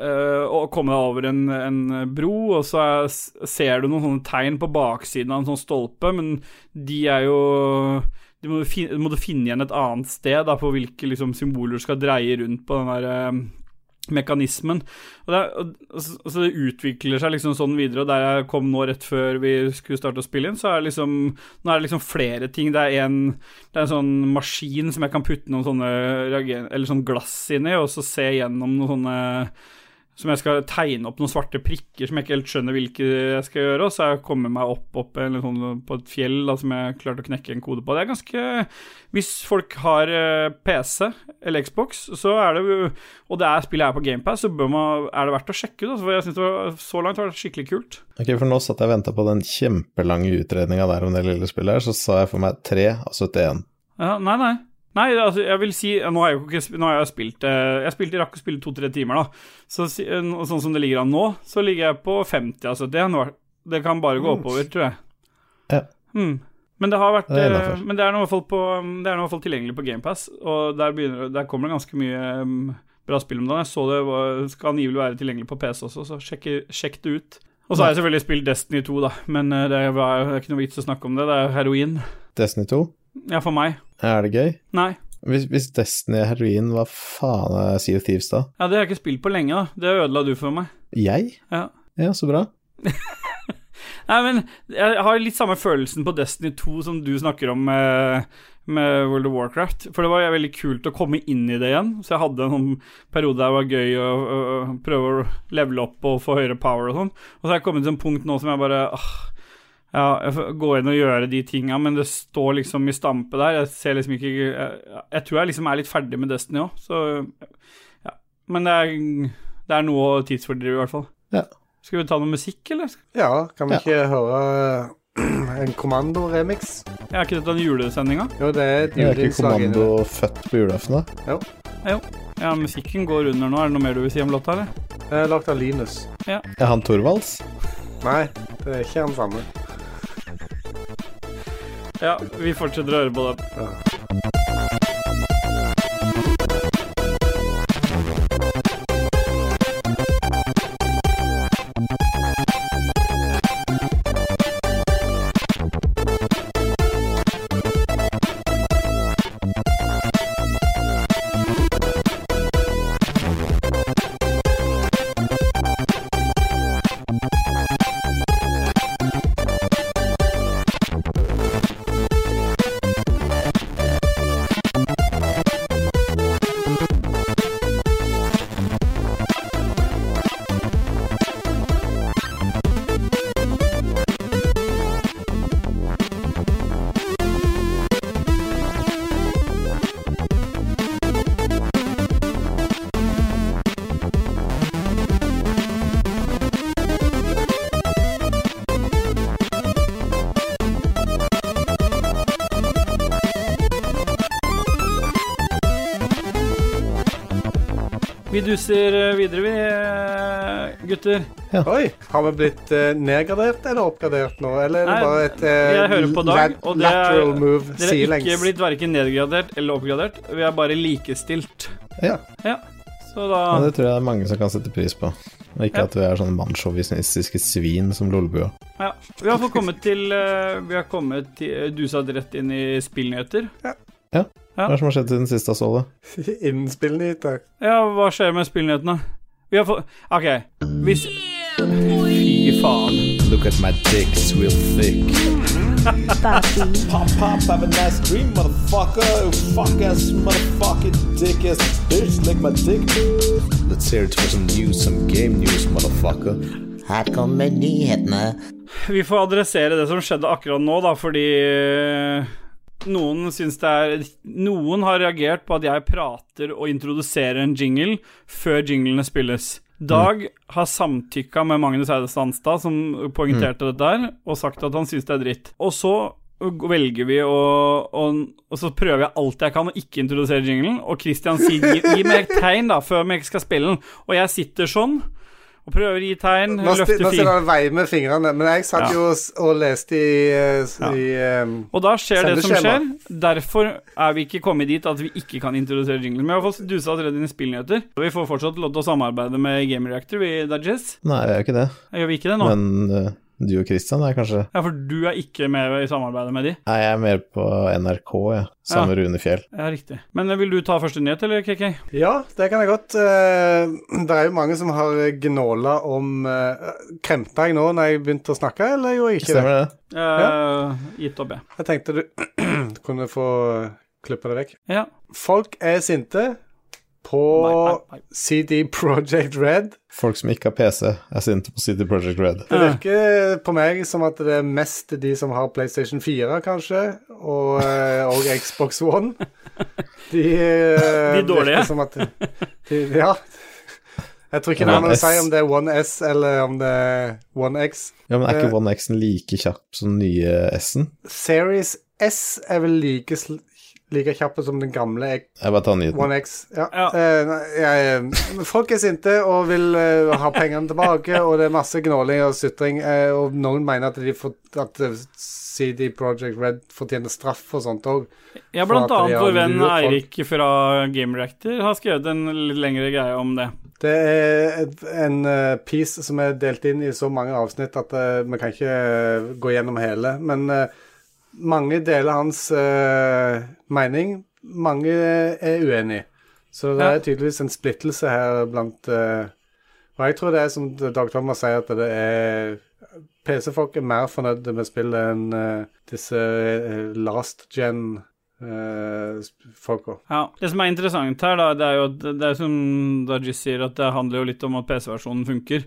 S1: eh, Og komme deg over en, en bro, og så er, ser du noen sånne tegn på baksiden av en sånn stolpe, men de er jo de må, du fin- må du finne igjen et annet sted da, på hvilke liksom, symboler du skal dreie rundt på den der eh, mekanismen. Og det, er- og, så, så det utvikler seg liksom sånn videre, og der jeg kom nå rett før vi skulle starte å spille inn, så er det liksom Nå er det liksom flere ting. Det er en det er en sånn maskin som jeg kan putte noen sånne reagen- Eller sånn glass inni, og så se gjennom noen sånne Som jeg skal tegne opp noen svarte prikker som jeg ikke helt skjønner hvilke jeg skal gjøre, og så har jeg kommet meg opp, opp eller sånn, på et fjell da, som jeg klarte å knekke en kode på. Det er ganske Hvis folk har eh, PC eller Xbox, så er det jo- Og det er spillet her på GamePass, så bør man, er det verdt å sjekke ut. Altså, for jeg synes det var, så langt var det skikkelig kult.
S2: Ok, for nå satt jeg og venta på den kjempelange utredninga der om det lille spillet her, så sa jeg for meg 3 av 71.
S1: Ja, nei, nei. Nei, altså, jeg vil si Nå har jeg jo ikke sp- nå har jeg spilt eh, Jeg spilte, rakk å spille to-tre timer, da. Så, si- eh, nå- sånn som det ligger an nå, så ligger jeg på 50 av 71 år. Det kan bare gå oppover, tror jeg.
S2: Mm. Ja.
S1: Mm. Men det har vært
S2: Det er
S1: eh,
S2: innenfor.
S1: Men det er nå i hvert fall på mm, Det er nå i hvert fall tilgjengelig på GamePass, og der, begynner, det- der kommer det ganske mye eh, bra spill om dagen. Jeg så det var, skal angivelig være tilgjengelig på PC også, så sjekk, sjekk det ut. Og så har jeg selvfølgelig spilt Destiny 2, da, men eh, det er, det er ikke noe vits å snakke om det. Det er heroin.
S2: Destiny 2,
S1: Ja, for meg.
S2: er det gøy?
S1: Nei.
S2: Hvis, hvis Destiny er heroin, hva faen er Sea of Thieves da?
S1: Ja, det har jeg ikke spilt på lenge, da. Det ødela du for meg.
S2: Jeg?
S1: Ja.
S2: Ja, så bra.
S1: Nei, men jeg har litt samme følelsen på Destiny 2 som du snakker om med, med World of Warcraft. For det var veldig kult å komme inn i det igjen. Så jeg hadde en sånn periode der det var gøy å, å, å prøve å levele opp og få høyere power og sånn. Og så har jeg kommet til en punkt nå som jeg bare åh, ja, jeg får gå inn og gjøre de tinga, men det står liksom i stampe der. Jeg ser liksom ikke Jeg, jeg tror jeg liksom er litt ferdig med Destiny òg, så ja. Men det er, det er noe tidsfordriv, i hvert fall.
S2: Ja.
S1: Skal vi ta noe musikk, eller?
S3: Ja, kan vi
S2: Ja.
S3: ikke høre eh, en kommando-remix?
S1: Jeg har ikke dette den julesendinga.
S3: Jo, det er et
S2: Jeg er ikke
S3: juleinslag inni
S2: kommando
S3: det.
S2: født på julaften, da.
S1: Ja, musikken går under nå. Er det noe mer du vil si om låta, eller?
S3: Det er lagd av Linus.
S2: Er han Torvalds?
S3: Nei, det er ikke han samme.
S1: Ja, vi fortsetter å høre på det. Vi duser eh, videre, vi, eh, gutter.
S3: Oi, har vi blitt eh, nedgradert eller oppgradert nå? Eller er det
S1: Nei,
S3: bare et eh,
S1: jeg hører på Dag, og det er-
S3: lateral move
S1: Dere er
S3: sidelengs?
S1: ikke blitt verken nedgradert eller oppgradert. Vi er bare likestilt.
S2: Ja.
S1: Så da
S2: Men det tror jeg det er mange som kan sette pris på. Og ikke
S1: Ja.
S2: at vi er sånne mannssjåvinistiske svin som Lolbua.
S1: Ja. Vi har fått kommet til eh, Vi har kommet til eh, duset rett inn i spillnyheter. Ja.
S2: Hva er det som har skjedd siden sist jeg så det?
S3: Innspillende i dag.
S1: Ja, hva skjer med spillnyhetene? Vi har fått OK. Hvis Fy faen.
S5: Look at my dick, it's real thick. Papi.
S2: Pop, pop, have a nice dream, motherfucker. Fuck ass, motherfucking dick ass bitch, lick my dick. Let's hear it for some news, some game news, motherfucker.
S6: Her kommer nyhetene.
S1: Vi får adressere det som skjedde akkurat nå, da, fordi eh, noen syns det er Noen har reagert på at jeg prater og introduserer en jingle før jinglene spilles. Dag
S3: Mm.
S1: har samtykka med Magnus Eide Sandstad, som poengterte
S3: Mm.
S1: dette her, og sagt at han syns det er dritt. Og så velger vi å og, og så prøver jeg alt jeg kan å ikke introdusere jinglen, og Christian sier gi, gi meg et tegn, da, før vi skal spille den. Og jeg sitter sånn og prøver å gi tegn,
S3: Nå sti-
S1: løfter
S3: nå
S1: fingeren
S3: sitter han og veier med fingrene, men jeg satt
S1: Ja.
S3: jo og, s- og leste i, eh, s- i ehm,
S1: Og da skjer det som skjer.
S3: Sendeskjema.
S1: Derfor er vi ikke kommet dit at vi ikke kan introdusere jingler. Men vi har fått dusa allerede inn i spillnyheter. Og vi får fortsatt lov til å samarbeide med Game Reactor, vi, Dajis.
S2: Nei, jeg gjør ikke det.
S1: Gjør vi ikke det nå?
S2: Men eh, du og Christian er kanskje
S1: Ja, for du er ikke med i samarbeidet med de.
S2: Nei, jeg er mer på NRK, jeg. Sammen med Rune Fjell.
S1: Ja, riktig. Men eh, vil du ta første nyhet, eller, Eh, KK?
S3: Ja, det kan jeg godt. Eh, Det er jo mange som har gnåla om eh, Kremta jeg nå når jeg begynte å snakke, eller gjorde jeg ikke det?
S2: Stemmer det?
S1: Eh, Gitt opp, jeg.
S3: Jeg tenkte du kunne få klippe det vekk.
S1: Ja.
S3: Folk er sinte på
S1: Nei, nei, nei.
S3: CD Project Red.
S2: Folk som ikke har PC, er sinte på City Project Red.
S3: Det virker på meg som at det er mest de som har PlayStation 4, kanskje, og, eh, og Xbox One. De, eh,
S1: De dårlige.
S3: virker Som at de, ja. Jeg tror ikke det har
S2: One
S3: noe å si
S2: S.
S3: om det er One S eller om det er One X.
S2: Ja, men er
S3: Eh.
S2: ikke One X-en like kjapp som den nye S-en?
S3: Series S er vel like, sl- like kjappe som den gamle X-
S2: Jeg bare tar nyheten.
S3: One X. Ja.
S1: Ja.
S3: Eh, nei, jeg, eh, folk er sinte og vil eh, ha pengene tilbake, og det er masse gnåling og sutring. eh, og noen mener at, de får, at eh, CD Project Red fortjener straff og sånt òg.
S1: Ja, blant
S3: For at
S1: annet
S3: de har
S1: vår venn
S3: lurt folk.
S1: Eirik fra Game Reactor har skrevet en litt lengre greie om det.
S3: Det er et- en eh, piece som er delt inn i så mange avsnitt at eh, vi kan ikke eh, gå gjennom hele. Men eh, mange deler hans eh, mening. Mange er uenig. Så det
S1: Ja.
S3: er tydeligvis en splittelse her blant eh, Og jeg tror det er som Dag Thomas sier, at det er PC-folk er mer fornøyde med spillet enn eh, disse eh, last eh, gen-folka.
S1: Ja, Det som er interessant her, da, det er jo at det er som Dajis sier, at det handler jo litt om at PC-versjonen funker.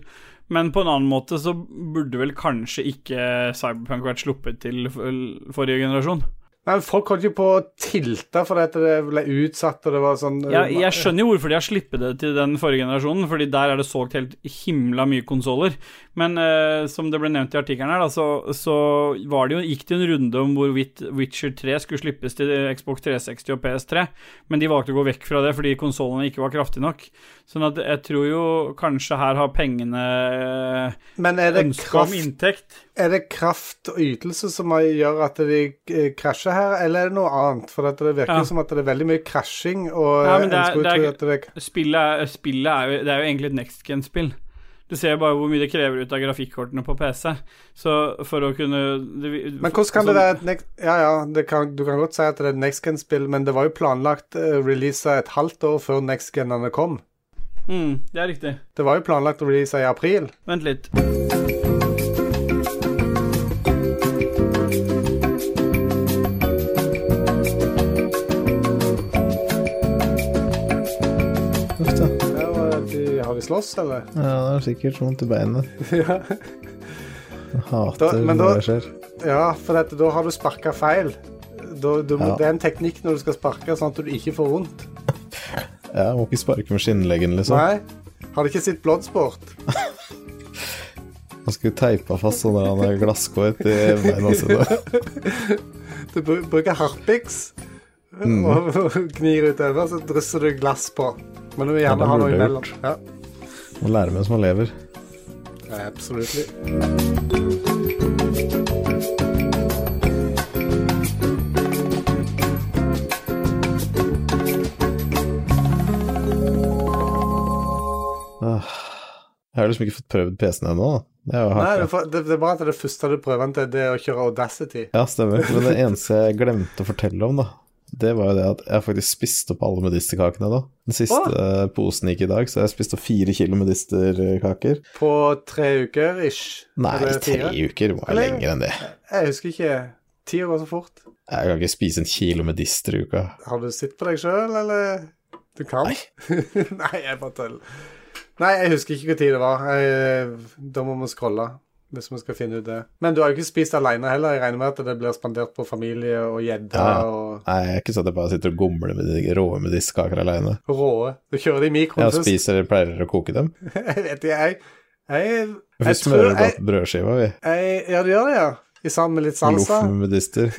S1: Men på en annen måte så burde vel kanskje ikke Cyberpunk vært sluppet til for- forrige generasjon.
S3: Nei, men Folk holdt jo på å tilte fordi at det ble utsatt, og det var sånn
S1: Jeg, jeg skjønner jo hvorfor de har sluppet det til den forrige generasjonen, fordi der er det solgt helt himla mye konsoller. Men eh, som det ble nevnt i artikkelen her, da, så, så var det jo, gikk det en runde om hvorvidt Witcher 3 skulle slippes til Xbox 360 og PS3, men de valgte å gå vekk fra det fordi konsollene ikke var kraftige nok. Sånn at jeg tror jo kanskje her har pengene eh,
S3: Men er det
S1: ønske om
S3: kraft
S1: inntekt.
S3: Er det kraft og ytelse som gjør at de eh, krasjer her, eller er det noe annet? For at det virker
S1: Ja.
S3: jo som at det er veldig mye krasjing, og
S1: Ja,
S3: eh,
S1: men det
S3: en
S1: er-
S3: skulle
S1: det
S3: tro
S1: er-
S3: at det
S1: Spillet, er- spillet er, jo, det er jo egentlig et next gen-spill. Du ser jo bare hvor mye det krever ut av grafikkortene på PC. Så for å kunne det-
S3: Men hvordan kan
S1: sånn-
S3: det være et next... Ja, ja, det kan, du kan godt si at det er et next gen-spill, men det var jo planlagt uh, releasa et halvt år før next genene kom.
S1: Mm, det er riktig.
S3: Det var jo planlagt å release i april.
S1: Vent litt.
S2: Uff da.
S3: Ja, og eh, de, har de slåss, eller?
S2: Ja, det er sikkert vondt i beinet.
S3: ja.
S2: Jeg
S3: Da-
S2: hater
S3: men
S2: når
S3: da-
S2: det skjer.
S3: Ja, for at, da har du sparka feil. Da, du, må-
S2: Ja.
S3: Det er en teknikk når du skal sparke, sånn at du ikke får vondt.
S2: Ja, må ikke sparke med skinnleggen, liksom.
S3: Nei? Har du ikke sett Bloodsport?
S2: Han skulle teipa fast sånn der han har glasskår til beina sine.
S3: Du bru- bruker harpiks
S2: Mm.
S3: og og gnir utover, så drysser du glass på. Men du vil
S2: det
S3: gjerne ha noe
S2: burde jeg
S3: imellom. Ja,
S2: Må lære mens man lever.
S3: ja absolutt.
S2: Jeg har liksom ikke fått prøvd PC-en ennå. da. Det er jo
S3: Nei,
S2: hardt.
S3: det, er for- det, det er bare at det første du prøver den til, det er å kjøre Audacity.
S2: Ja, stemmer. Men det eneste jeg glemte å fortelle om, da, det var jo det at jeg faktisk spiste opp alle medisterkakene da. Den siste eh, posen gikk i dag, så jeg spiste opp fire kilo medisterkaker.
S3: På tre uker ish.
S2: Nei,
S3: Eller
S2: tre
S3: fire.
S2: uker var
S3: Eller-
S2: lenger enn det.
S3: Jeg husker ikke. Tida går så fort.
S2: Jeg kan ikke spise en kilo med dister i uka.
S3: Har du sett på deg sjøl, eller? Du kan? Nei, jeg bare tuller. Nei, jeg husker ikke hvor tid det var. Jeg, eh, da må vi scrolle. Hvis vi skal finne ut det. Men du har jo ikke spist aleine heller. Jeg regner med at det blir spandert på familie og gjedde
S2: Ja, ja.
S3: og
S2: Nei, jeg er ikke sånn at jeg bare sitter og gomler med de råe medisterkaker alene.
S3: råe. Du kjører det i mikroen
S2: Jeg
S3: først.
S2: spiser pleier å koke dem.
S3: Jeg vet ikke, jeg Jeg,
S2: Vi
S3: jeg tror
S2: smører bare
S3: jeg,
S2: på brødskiva, vi.
S3: jeg Ja, du gjør det, ja. I sammen med litt
S2: Loff
S3: salsa.
S2: med medister.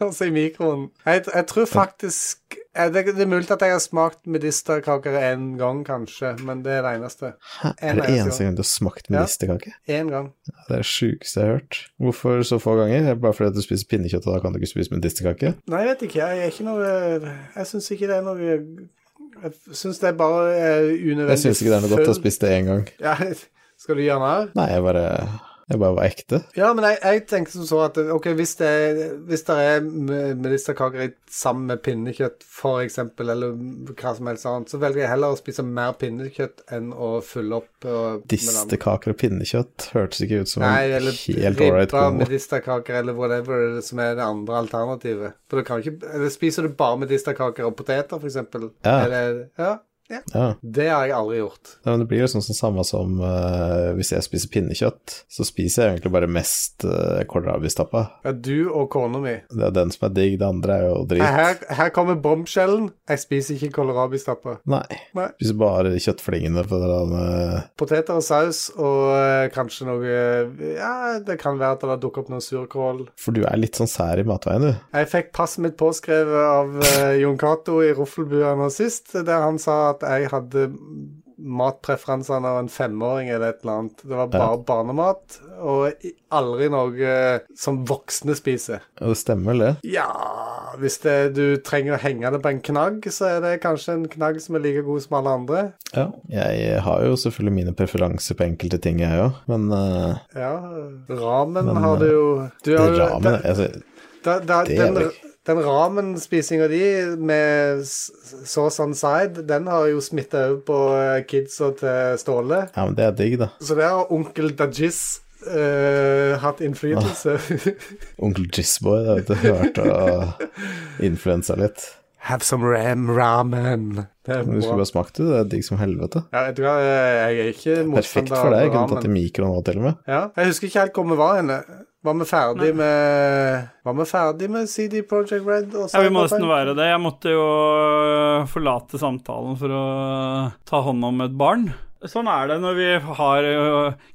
S3: Altså i mikroen. Jeg, jeg tror faktisk jeg, det, det er mulig at jeg har smakt medisterkaker én gang, kanskje, men det er det eneste.
S2: Hæ, er det
S3: Nei, jeg
S2: eneste
S3: tror-
S2: gang du har smakt
S3: Ja.
S2: medisterkake?
S3: Én gang.
S2: Ja, det er det sjukeste jeg har hørt. Hvorfor så få ganger? Det er Bare fordi at du spiser pinnekjøtt, og da kan du ikke spise medisterkake?
S3: Nei, jeg vet ikke. Jeg er ikke noe Jeg syns ikke det er noe Jeg syns det er bare eh, unødvendig
S2: Jeg syns ikke det er noe godt å
S3: full-
S2: spise det én gang.
S3: Ja, skal du gjøre mer?
S2: Nei, jeg bare jeg bare var ekte.
S3: Ja, men jeg, jeg tenkte som så at ok, hvis det, hvis det er me- medisterkaker i- sammen med pinnekjøtt, for eksempel, eller hva som helst annet, så velger jeg heller å spise mer pinnekjøtt enn å fylle opp uh,
S2: Disterkaker og pinnekjøtt hørtes ikke ut som
S3: Nei,
S2: en
S3: eller
S2: helt ålreit
S3: ribba,
S2: kombo.
S3: medisterkaker eller whatever det som er det andre alternativet. For du kan ikke Eller spiser du bare medisterkaker og poteter, for eksempel?
S2: Ja.
S3: Eller, ja. ja.
S2: Ja.
S3: Det har jeg aldri gjort.
S2: Nei, men det blir jo sånn som samme som eh, hvis jeg spiser pinnekjøtt, så spiser jeg egentlig bare mest uh, kålrabistappa.
S3: Ja, du og kona mi.
S2: Det er den som er digg, det andre er jo
S3: Her,
S2: dritt.
S3: her kommer bombskjellen. Jeg spiser ikke kålrabistapper.
S2: Nei.
S3: Nei.
S2: Spiser bare kjøttflingene på den eh,
S3: Poteter og saus og eh, kanskje noe eh, Ja, det kan være at det har dukket opp noe surkål.
S2: For du er litt sånn sær i matveien, du.
S3: Jeg fikk passet mitt påskrevet av eh, Jon Cato i Ruffelbua nå sist, der han sa at jeg hadde matpreferansene av en femåring eller et eller annet. Det var bare barnemat, og i- aldri noe eh, som voksne spiser.
S2: Ja, det stemmer vel, det.
S3: Ja Hvis det, du trenger å henge det på en knagg, så er det kanskje en knagg som er like god som alle andre.
S2: Ja. Jeg har jo selvfølgelig mine preferanser på enkelte ting, jeg òg, men eh,
S3: Ja. Ramen har du jo du har jo-
S2: ramen altså,
S3: Da, da,
S2: Det er
S3: den,
S2: vel-
S3: den ramenspisinga di med s- sauce on side, den har jo smitta over på eh, kidsa til Ståle.
S2: Ja, men det er digg, da.
S3: Så der har onkel Dajis eh, hatt innflytelse.
S2: Ah. Onkel Jizzboy, det vet du, hørte og influensa litt.
S3: Have some ram ramen. Det er
S2: Men Du skulle
S3: bra.
S2: bare smakt det, det er digg som helvete.
S3: Ja, vet du hva, eh, jeg er ikke
S2: Perfekt
S3: motstander
S2: for deg, jeg
S3: av
S2: kunne tatt det
S3: ramen.
S2: i mikroen nå til og med.
S3: Ja. Jeg husker ikke helt hvor vi var henne. Var vi ferdig med Var vi ferdig med CD Project Red? Og
S1: Ja, vi må
S3: Cyberpunk?
S1: nesten være det. Jeg måtte jo øh, forlate samtalen for å øh, ta hånd om et barn. Sånn er det når vi har ø,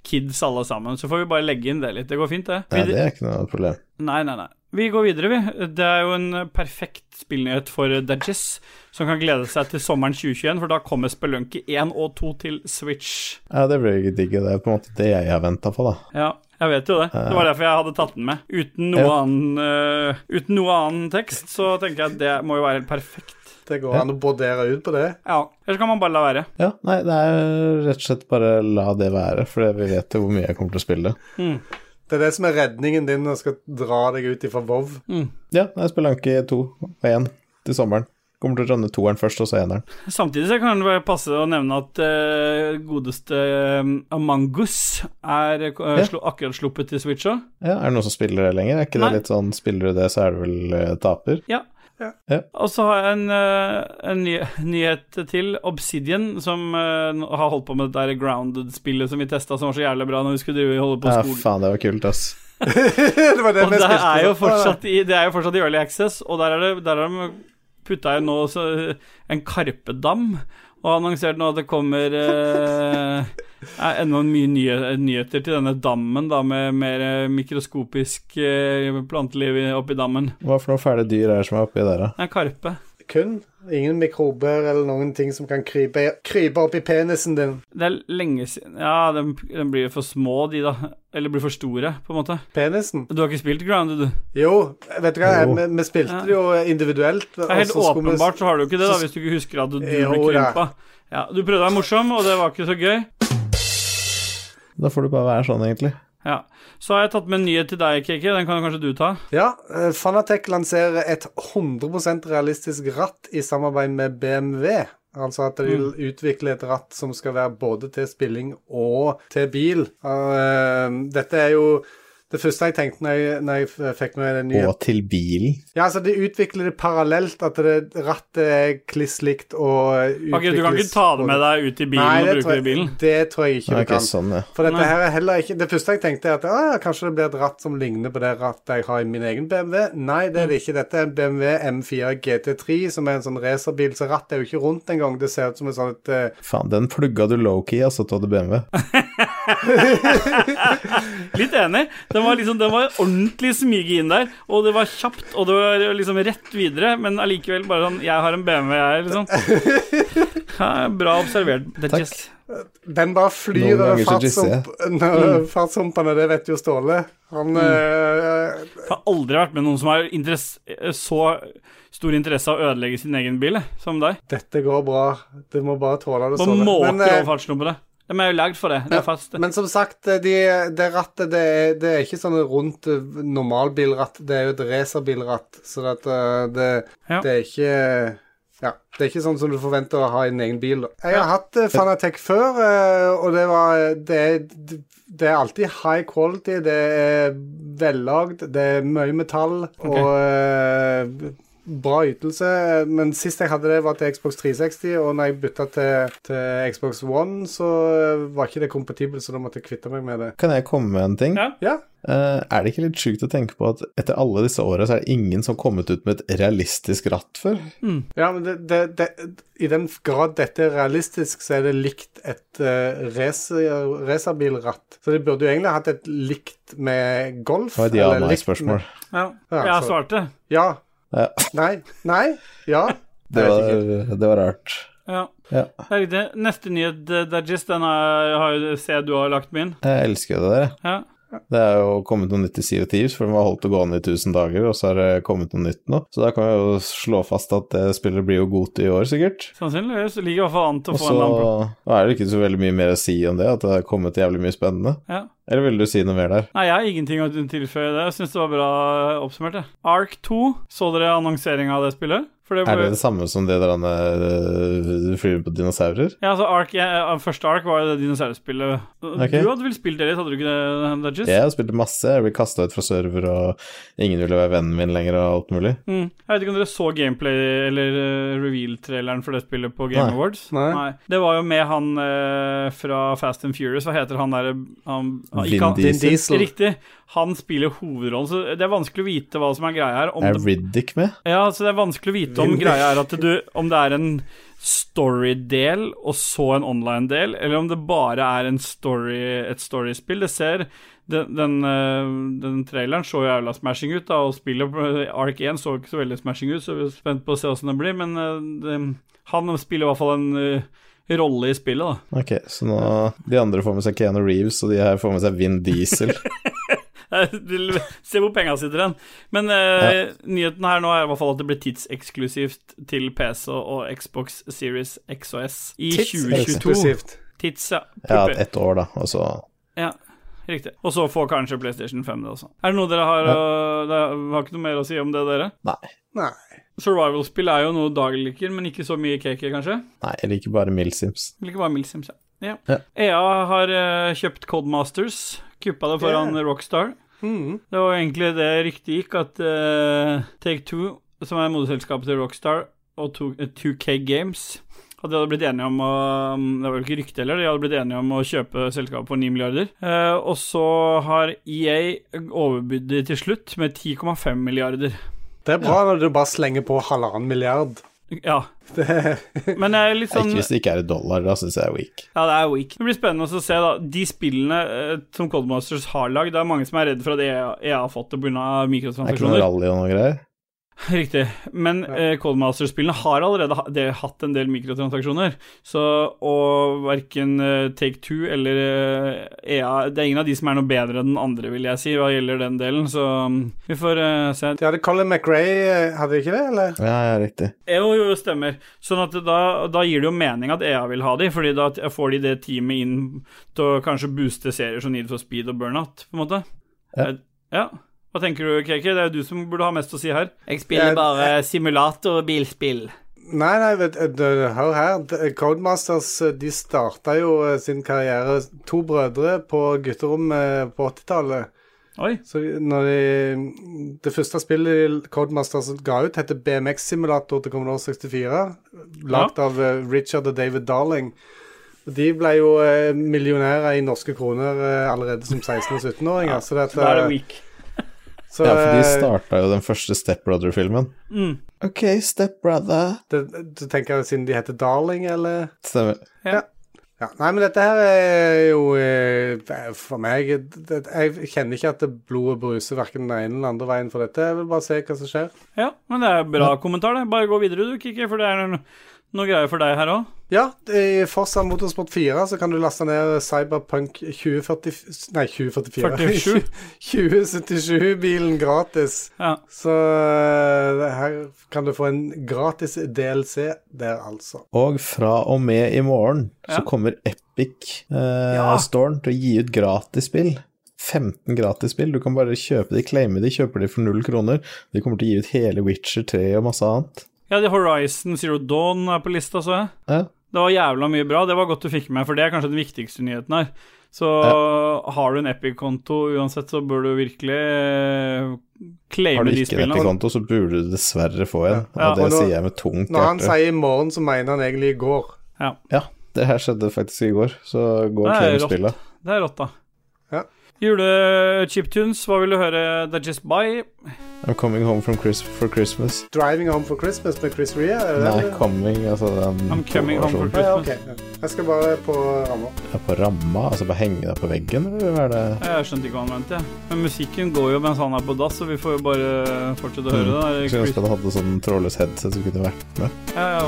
S1: kids alle sammen, så får vi bare legge inn det litt. Det går fint, det.
S2: Nei,
S1: Vi,
S2: det er ikke noe problem.
S1: nei, nei, nei. Vi går videre, vi. Det er jo en perfekt spillnyhet for Dudges, som kan glede seg til sommeren 2021, for da kommer Spelunky 1 og 2 til Switch.
S2: Ja, det blir jo digg, og det er på en måte det jeg har venta på, da.
S1: Ja, jeg vet jo det. Det var derfor jeg hadde tatt den med. Uten noe
S2: Ja.
S1: annen, ø, uten noe annen tekst, så tenker jeg at det må jo være helt perfekt.
S3: Det går an å brodere ut på det.
S1: Ja, eller så kan man bare la være.
S2: Ja, nei, det er rett og slett bare la det være, for vi vet jo hvor mye jeg kommer til å spille.
S3: Det er det som er redningen din når du skal dra deg ut ifra Vov.
S2: Ja, jeg spiller Anki 2 og 1 til sommeren. Kommer til å runde toeren først, og så eneren.
S1: Samtidig så kan det være passe å nevne at eh, godeste eh, Among Us er eh, slo, akkurat sluppet til Switch òg.
S2: Ja, er det noen som spiller det lenger? Er ikke
S1: Nei.
S2: det litt sånn spiller du det, så er du vel eh, taper?
S1: Ja.
S2: Ja.
S1: Og så har jeg en, eh, en ny nyhet til. Obsidian, som eh, nå har holdt på med det der Grounded-spillet som vi testa, som var så jævlig bra når vi skulle drive og holde på
S2: Ja,
S1: skolen.
S2: faen, det var kult, ass.
S3: det var det
S1: Og
S3: vi
S1: det
S3: spilte.
S1: er jo fortsatt i, det er jo fortsatt i Early Access, og der, er det, der har de putta jo nå så, en karpedam, og annonsert nå at det kommer eh, er enda mye nye, nyheter til denne dammen, da, med mer eh, mikroskopisk eh, planteliv i- oppi dammen.
S2: Hva for noen fæle dyr er det som er oppi der, da?
S1: Det er karpe.
S3: Kun. Ingen mikrober eller noen ting som kan krype, krype opp i penisen din.
S1: Det er lenge siden Ja, de, de blir for små, de, da. Eller blir for store, på en måte.
S3: Penisen?
S1: Du har ikke spilt Grounded, du?
S3: Jo, vet du hva,
S2: Jo.
S3: vi, vi spilte det jo individuelt.
S1: Det er helt åpenbart så har du ikke det, da,
S3: så-
S1: hvis du ikke husker at du, du
S3: Jo,
S1: ble
S3: da.
S1: krympa. Ja, du prøvde å være morsom, og det var ikke så gøy.
S2: Da får du bare være sånn, egentlig.
S1: Ja. Så har jeg tatt med en nyhet til deg, KK. Den kan kanskje du ta?
S3: Ja, eh, Fanatec lanserer et 100 realistisk ratt i samarbeid med BMW. Altså
S1: Mm.
S3: at de vil utvikle et ratt som skal være både til spilling og til bil. Eh, Dette er jo Det første jeg tenkte når jeg, når jeg f- fikk med den nye
S2: Og til bilen.
S3: Ja, altså, de utvikler det parallelt, at det, rattet er kliss likt og
S1: Ok, du kan ikke ta det med deg ut i bilen
S3: Nei, det
S1: og bruke
S3: tror
S1: det i
S3: jeg-
S1: bilen?
S3: Det tror jeg ikke
S2: Nei,
S3: du
S2: ikke
S3: kan.
S2: sånn, ja.
S3: For dette
S1: Nei.
S3: her er heller ikke Det første jeg tenkte, er at «Å, ja, kanskje det blir et ratt som ligner på det rattet jeg har i min egen BMW. Nei, det er det ikke. Dette er en BMW M4 GT3, som er en sånn racerbil, så rattet er jo ikke rundt engang. Det ser ut som en sånn et eh,
S2: Faen, den plugga du low-key, altså, til BMW.
S1: Litt enig. Den var, liksom, den var ordentlig smyget inn der, og det var kjapt, og det var liksom rett videre, men allikevel bare sånn Jeg har en BMW, jeg, liksom. Ja, bra observert. Det er
S2: Takk.
S1: just-
S3: Den bare flyr
S2: Noen
S3: over
S2: ganger så jizzer jeg.
S3: fartshump- over
S1: Mm.
S3: fartshumpene, det vet jo Ståle. Han eh,
S1: Jeg har aldri vært med noen som har interess, så stor interesse av å ødelegge sin egen bil, jeg, som deg.
S3: Dette går bra. Du må bare tåle det,
S1: På måker
S3: Men, eh,
S1: over fartsnummeret. De er jo lagd for det. Det er fast.
S3: Men som sagt, eh, de, det rattet det er, det er ikke sånn rundt eh, normalbilratt, det er jo et racerbilratt. Så at, eh, det,
S1: Ja.
S3: det er ikke ja, Det er ikke sånn som du forventer å ha i din egen bil. da. Jeg har hatt eh, Fanatec før, eh, og det var det, er- det er alltid high quality, det er vellagd, det er mye metall og eh, bra ytelse. Men sist jeg hadde det, var til Xbox 360, og når jeg bytta til, til Xbox One, så eh, var ikke det kompatibelt, så da måtte jeg kvitte meg med det.
S2: Kan jeg komme med en ting?
S1: Ja.
S3: Ja,
S2: Eh, er det ikke litt sjukt å tenke på at etter alle disse åra, så er det ingen som har kommet ut med et realistisk ratt før?
S3: ja men det, det, det, i den grad dette er realistisk, så er det likt et uh, racerbilratt. Så de burde jo egentlig hatt et likt med golf.
S2: Det var et
S3: eller likt med-
S2: ja-nei-spørsmål.
S1: Ja.
S3: Ja,
S1: Jeg
S3: så-
S1: svarte.
S3: Ja.
S2: Ja.
S3: Nei. Nei. Ja.
S2: Det,
S3: Jeg vet ikke.
S2: var- det var rart.
S1: Ja.
S2: Ja.
S1: Det er riktig. Neste nyhet, eh, Dajis, den har har jo ser jeg du har lagt med inn.
S2: Jeg elsker jo det der. jeg.
S1: Ja.
S2: Det er jo kommet noe nytt i Sea of Thieves, for den var holdt å gå an i 1000 dager, og så har det kommet noe nytt nå. Så da kan vi jo slå fast at det spillet blir jo godt i år, sikkert.
S1: Sannsynligvis. Ligger i hvert fall an til å
S2: Og
S1: få
S2: så
S1: en lampe.
S2: og er det ikke så veldig mye mer å si om det, at det har kommet jævlig mye spennende.
S1: Ja.
S2: Eller ville du si noe mer der?
S1: Nei, jeg har ingenting å tilføye det. Jeg syns det var bra oppsummert, jeg. Ark 2, så dere annonseringa av det spillet? For det
S2: Er
S1: ble...
S2: det det samme som det der han øh, flyr på dinosaurer?
S1: Ja, altså Ark, ja, Første Ark var jo det dinosaurspillet.
S2: Ok.
S1: Du hadde vel spilt det litt, hadde du ikke det, Dajis?
S2: Jeg har spilt masse, jeg ble kasta ut fra server, og ingen ville være vennen min lenger, og alt mulig.
S1: Mm. Jeg vet ikke om dere så gameplay eller eh, reveal-traileren for det spillet på Game
S2: Nei.
S1: Awards?
S3: Nei.
S1: Det var jo med han eh, fra Fast and Furious, hva heter han derre han, han-
S2: Vin
S1: ikke han-
S3: Vin
S2: Diesel.
S3: Diesel.
S1: Riktig. Han spiller hovedrollen, så det er vanskelig å vite hva som er greia her. Om
S2: Er
S1: det,
S2: Riddick med?
S1: ja, så det er vanskelig å vite om
S3: Vin-
S1: greia er at du Om det er en story-del og så en online-del, eller om det bare er en story, et story-spill. Det ser den, den, eh, den traileren så jo jævla smashing ut, da, og spillet på Ark 1 så ikke så veldig smashing ut, så vi er spent på å se åssen det blir, men eh, det, han spiller i hvert fall en eh, rolle i spillet, da.
S2: Ok, så nå De andre får med seg Keanu Reeves, og de her får med seg Vin Diesel.
S1: Se hvor penga sitter hen. Men eh, nyheten her nå er i hvert fall at det blir tidseksklusivt til PC og Xbox Series X og S i 2022.
S3: Eksklusivt.
S1: Tids, ja.
S2: Ja,
S1: Puppe.
S2: ett år, da, og så
S1: ja. Riktig. Og så får kanskje PlayStation 5 det også. Er det noe dere har å- Det har ikke noe mer å si om det, dere?
S2: Nei.
S3: Nei.
S1: Survival-spill er jo noe Dag liker, men ikke så mye cake, kanskje?
S2: Nei, jeg liker bare Milsims.
S1: Vil ikke bare Mild Sims, ja. Ja.
S2: Ja.
S1: EA har eh, kjøpt Codemasters. Kuppa det foran Rockstar.
S3: Mhm.
S1: Det var egentlig det ryktet gikk, at eh, Take Two, som er moderselskapet til Rockstar, og to, eh, 2K Games at de hadde blitt enige om å Det var jo ikke rykte heller, de hadde blitt enige om å kjøpe selskapet for 9 milliarder. Eh, og så har EA overbydd de til slutt med 10,5 milliarder.
S3: Det er bra når du bare slenger på halvannen milliard.
S1: Ja. Men jeg er litt sånn
S2: Ikke hvis det ikke er i dollar, da syns jeg er weak.
S1: Ja, det er weak. Det blir spennende å se, da. De spillene eh, som Codemasters har lagd, det er mange som er redd for at E EA, EA har fått det pga.
S2: Det er ikke noe
S1: mikrotransaksjoner.
S2: rally og noe greier.
S1: Riktig. Men eh, Codemasters-spillene har allerede ha, det, hatt en del mikrotransaksjoner. Så og verken eh, Take Two eller eh, EA Det er ingen av de som er noe bedre enn den andre, vil jeg si, hva gjelder den delen. Så mm, vi får eh, se.
S3: De hadde Colin McRae, eh, hadde de ikke det, eller?
S2: Ja, ja, riktig.
S1: Jo, E jo, jo, stemmer. Sånn at da, da gir det jo mening at EA vil ha de, fordi da t- får de det teamet inn til å kanskje booste serier som Need for Speed og Burnout, på en måte.
S2: Ja.
S1: Eh, ja. Hva tenker du, KK? Det er jo du som burde ha mest å si her. Jeg
S3: spiller Jeg- bare
S1: simulator og bilspill.
S3: Nei, nei, vet, du, hør her. D- Codemasters eh, de eh, starta jo eh, sin karriere, to brødre, på gutterommet på 80-tallet.
S1: Oi.
S3: Så når de, det første spillet Codemasters ga ut, heter BMX Simulator til Commodore 64. Lagd av eh, Richard og David Darling. Og De ble jo eh, millionærer i norske kroner eh, allerede som 16- og 17-åringer. så det, at,
S1: Da er det
S3: eh,
S1: weak.
S3: så,
S2: Ja, for de
S3: eh,
S2: starta jo den første Step Brother-filmen.
S1: Mm.
S2: OK, Step Brother.
S3: det, Du tenker jeg siden de heter Darling, eller?
S2: Stemmer.
S3: Ja, nei, men dette her er jo eh, det er For meg det, Jeg kjenner ikke at det blodet bruser verken den ene eller andre veien for dette. Jeg vil bare se hva som skjer.
S1: Ja, men det er bra kommentar, det. Bare gå videre du, Kikki, for det er noe, noe greier for deg her òg.
S3: Ja, i Forsa Motorsport 4 så kan du laste ned Cyberpunk 2040 Nei, 2044.
S1: 47.
S3: 2077-bilen gratis.
S1: Ja.
S3: Så eh, her kan du få en gratis DLC der, altså.
S2: Og fra og med i morgen
S1: Ja.
S2: så kommer Epic eh,
S1: Ja.
S2: Storen til å gi ut gratis spill. 15 gratis spill. Du kan bare kjøpe de, claime de, kjøper de for null kroner. De kommer til å gi ut hele Witcher 3 og masse annet.
S1: ja, det Horizon Zero Dawn er på lista, så jeg.
S2: Ja.
S1: Det var jævla mye bra. Det var godt du fikk med, for det er kanskje den viktigste nyheten her. Så har du en Epic-konto uansett, så bør du virkelig eh,
S2: Har
S1: claime
S2: du
S1: de
S2: ikke en
S1: spillene.
S2: Epic-konto, så burde du dessverre få en.
S1: Ja,
S2: og det
S3: og nå-
S2: sier jeg med tungt
S3: Når han
S2: hjerte.
S3: sier i morgen, så mener han egentlig i går.
S2: Ja, det her skjedde faktisk i går, så gå og
S1: Det er
S2: claim
S1: rått.
S2: spillet.
S1: Det er rått, da.
S3: Ja.
S1: Julechiptunes, hva vil du høre? That's just by.
S2: I'm coming home from Chris for Christmas.
S3: 'Driving Home for Christmas' med Chris Rea. er det
S2: Nei,
S3: det?
S2: coming, altså den
S1: I'm coming home for
S2: versjonen.
S3: Ah, ja,
S1: Christmas.
S3: ok. Jeg skal bare på rammer.
S2: Ja, På ramma, altså bare henge deg på veggen, eller hva er det?
S1: Jeg skjønte ikke hva han mente. jeg. Men musikken går jo mens han er på dass, så vi får jo bare eh, fortsette å høre det.
S2: Skulle ønske
S1: der.
S2: at han hadde sånn trådløs headset som kunne vært med.
S1: Ja, ja.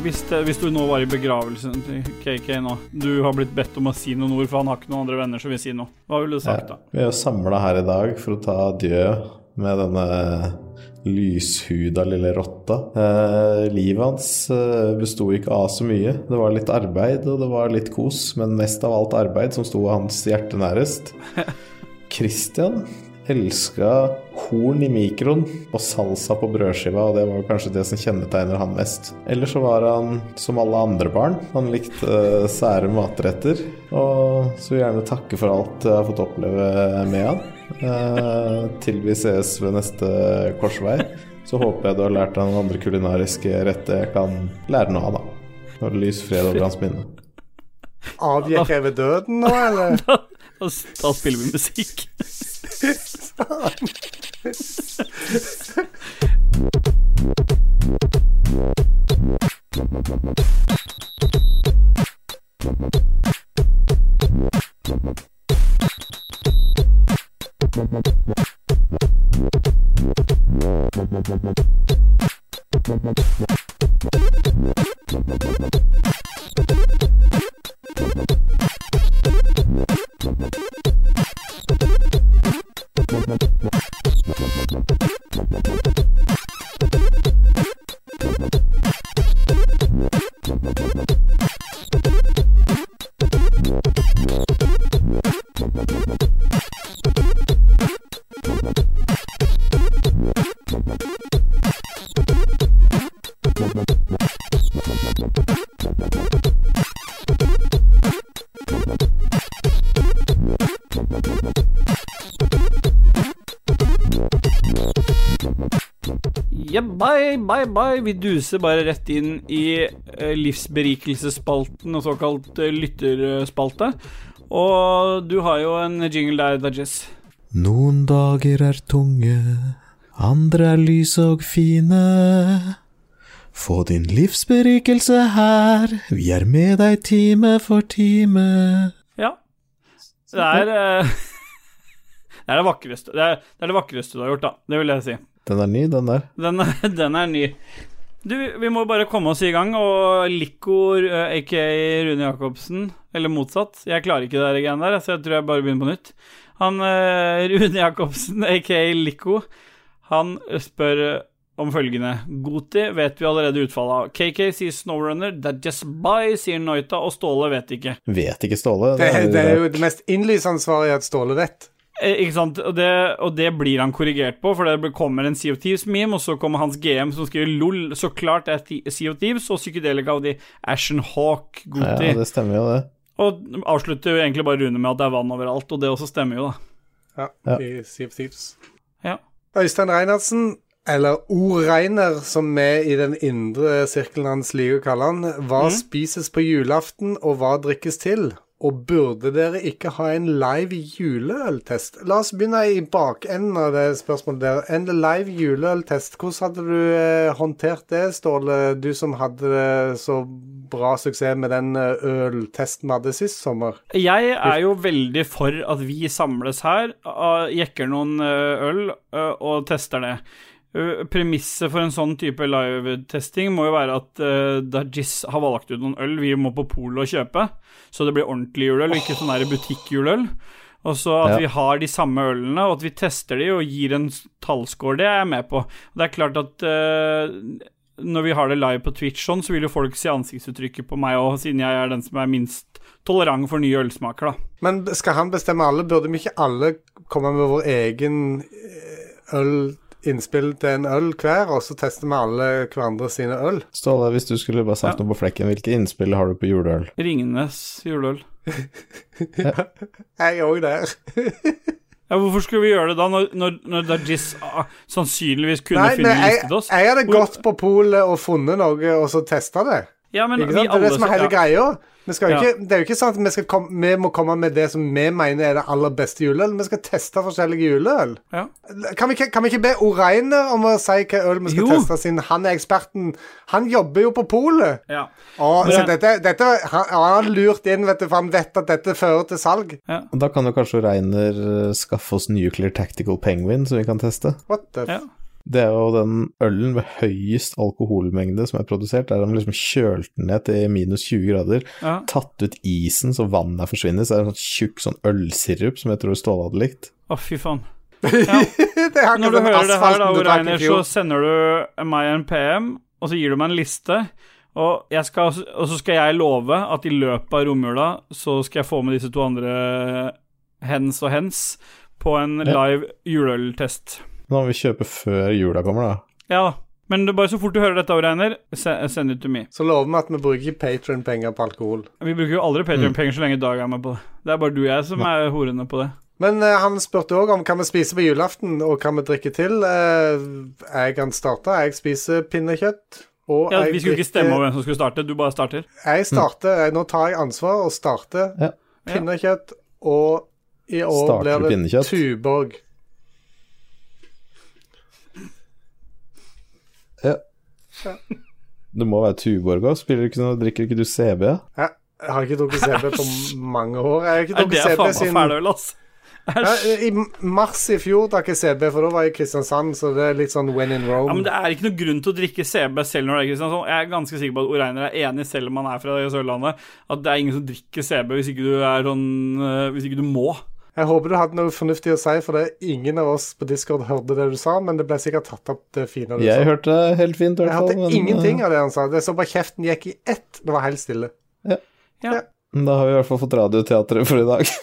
S1: Hvis, det, hvis du nå var i begravelsen til KK nå Du har blitt bedt om å si noen ord, for han har ikke noen andre venner som vil si noe. Hva ville du sagt da?
S2: Vi er jo samla her i dag for å ta adjø med denne lyshuda lille rotta. Eh, livet hans eh, besto ikke av så mye. Det var litt arbeid og det var litt kos, men mest av alt arbeid som sto hans hjerte nærest. Christian elska horn i mikroen og salsa på brødskiva, og det var kanskje det som kjennetegner han mest. Ellers så var han som alle andre barn. Han likte eh, sære matretter. Og så vil jeg gjerne takke for alt jeg har fått oppleve med han. Eh, til vi ses ved neste korsvei, så håper jeg du har lært han andre kulinariske retter jeg kan lære noe av, da. Og lys fred over hans minne.
S3: Avgikk jeg ved døden nå, eller?
S1: Da, s- da spiller vi musikk. Yeah, bye, bye, bye. Vi duser bare rett inn i eh, livsberikelsesspalten og såkalt eh, lytterspalte. Og du har jo en jingle der, Dajess.
S2: Noen dager er tunge, andre er lyse og fine. Få din livsberikelse her, vi er med deg time for time.
S1: Ja. Det er eh, Det er det vakreste det er, det er det vakreste du har gjort, da. Det vil jeg si.
S2: Den er ny, den der.
S1: Den er, den er ny. Du, vi må bare komme oss i gang, og Likor, eh, aka Rune Jacobsen, eller motsatt Jeg klarer ikke det der greiene der, så jeg tror jeg bare begynner på nytt. Han eh, Rune Jacobsen, aka Lico, han spør eh, om følgende Goti vet vi allerede utfallet av. KK sier Snowrunner, That Just By sier Noita, og Ståle vet ikke.
S2: Vet ikke Ståle.
S3: Det,
S2: er
S3: det er jo
S2: rart.
S3: det mest innlysende svaret at Ståle vet.
S1: Eh, Ikke sant, og det, og det blir han korrigert på, for det blir- kommer en Sea of Thieves-meme, og så kommer hans GM som skriver LOL, så klart er Thi- Sea of Thieves og Psykedelika av de Ashen Hawk
S2: Ja,
S1: Gooty.
S2: det stemmer jo, det.
S1: Og avslutter jo egentlig bare Rune med at det er vann overalt, og det også stemmer jo, da.
S3: Ja,
S2: Ja.
S3: i Sea of Thieves.
S1: Ja.
S3: Øystein Reinertsen, eller O. Reiner, som vi i den indre sirkelen hans liker å kalle han, hva spises på julaften, og hva drikkes til? Og burde dere ikke ha en live juleøltest? La oss begynne i bakenden av det spørsmålet der. En live juleøltest, hvordan hadde du eh, håndtert det, Ståle? Du som hadde eh, så bra suksess med den eh, øltesten vi hadde sist sommer.
S1: Jeg er jo veldig for at vi samles her, ah, jekker noen eh, øl eh, og tester det. Eh, Premisset for en sånn type live-testing må jo være at eh, Dajis har valgt ut noen øl vi må på polet og kjøpe, så det blir ordentlig juleøl, og ikke sånn der butikkjuleøl. Og så at
S2: Ja.
S1: vi har de samme ølene, og at vi tester de og gir en s- tallscore, det er jeg med på. Det er klart at eh, når vi har det live på Twitch sånn, så vil jo folk se ansiktsuttrykket på meg òg, siden jeg er den som er minst tolerant for nye ølsmaker, da.
S3: Men skal han bestemme alle? Burde vi ikke alle komme med vår egen eh, øl, innspill til en øl hver, og så tester vi alle hverandre sine øl?
S2: Ståle, hvis du skulle bare sagt noe på flekken, hvilke innspill har du på juleøl?
S1: Ringenes juleøl.
S3: Jeg er òg der.
S1: Ja, hvorfor skulle vi gjøre det da, når, når, når Dajis ah, sannsynligvis kunne
S3: Nei,
S1: finne
S3: men jeg,
S1: listet oss?
S3: jeg hadde
S1: Hvor-
S3: gått på polet og funnet noe, og så testa det.
S1: ja, men
S3: Ikke
S1: vi
S3: sant? Det er
S1: alle
S3: det som
S1: så-
S3: er hele
S1: ja.
S3: greia. Vi skal
S1: Ja.
S3: jo ikke, det er jo ikke sånn at vi, skal komme, vi må komme med det som vi mener er det aller beste juleøl. Vi skal teste forskjellige juleøl.
S1: Ja.
S3: Kan vi, ikke- kan vi ikke be O'Reiner om å si hva øl vi skal
S1: Jo.
S3: teste, siden han er eksperten? Han jobber jo på polet.
S1: Ja.
S3: Å, så
S1: Men-
S3: dette, dette han, han har lurt inn, vet du, for han vet at dette fører til salg.
S2: Da kan jo kanskje Reiner eh, skaffe oss Nuclear Tactical Penguin, som vi kan teste.
S3: What the f...
S1: Ja.
S2: Det er jo den ølen med høyest alkoholmengde som er produsert, der de liksom kjølt den ned til minus 20 grader,
S1: Ja.
S2: tatt ut isen så vannet forsvinner, så er det en sånn tjukk sånn ølsirup som jeg tror Ståle hadde likt.
S1: Å, fy faen. Ja.
S3: Det er
S1: Når du hører
S3: akkurat som
S1: det her, da,
S3: asfalten du drakk i
S1: O'Reiner, så
S3: fjor.
S1: sender du meg en PM, og så gir du meg en liste. Og, jeg skal, og så skal jeg love at i løpet av romjula så skal jeg få med disse to andre hens og hens på en live juleøltest.
S2: Men da må vi kjøpe før jula kommer, da.
S1: Ja da. Men det er bare så fort du hører dette, O'Reiner, se- send it to me.
S3: Så lover vi at vi bruker ikke Patron-penger på alkohol.
S1: Vi bruker jo
S3: Mm.
S1: aldri Patreon-penger så lenge Dag er med på det. Det er bare du og jeg som er horene på det.
S3: Men eh, han spurte òg om hva vi spiser på julaften, og hva vi drikker til. Eh, jeg kan starte. Jeg spiser pinnekjøtt. Og
S1: Ja,
S3: jeg
S1: vi skulle ikke
S3: drikker-
S1: stemme over hvem som skulle starte, du bare starter.
S3: Jeg starter. jeg- Nå tar jeg ansvar og starter
S2: Ja.
S3: pinnekjøtt, og i år
S2: Starter du
S3: blir det
S2: pinnekjøtt?
S3: Tuborg.
S2: Det må være Tuborg òg, spiller ikke noe, drikker ikke du CB?
S3: Ja, Jeg har ikke drukket CB på mange år. Jeg har ikke
S1: Nei, det
S3: drukket
S1: er
S3: CB
S1: faen meg
S3: siden
S1: fæl øl, ass.
S3: ja, I mars i fjor drakk jeg CB, for da var jeg i Kristiansand, så det er litt sånn when in Rome.
S1: Ja, men Det er ikke noe grunn til å drikke CB selv når det er Kristiansand. Jeg er ganske sikker på at O'Reiner er enig, selv om han er fra Sørlandet, at det er ingen som drikker CB hvis ikke du er sånn øh, Hvis ikke du må.
S3: Jeg håper du hadde noe fornuftig å si, for det er ingen av oss på Discord hørte det du sa, men det ble sikkert tatt opp det fine du
S2: Jeg
S3: sa.
S2: hørte det helt fint, i
S3: Jeg
S2: hvert fall.
S3: hørte
S2: men,
S3: ingenting
S2: eh,
S3: av det han sa. Det så bare kjeften gikk i ett. Det var helt stille.
S2: eh, Da har vi i hvert fall fått Radioteatret for i dag.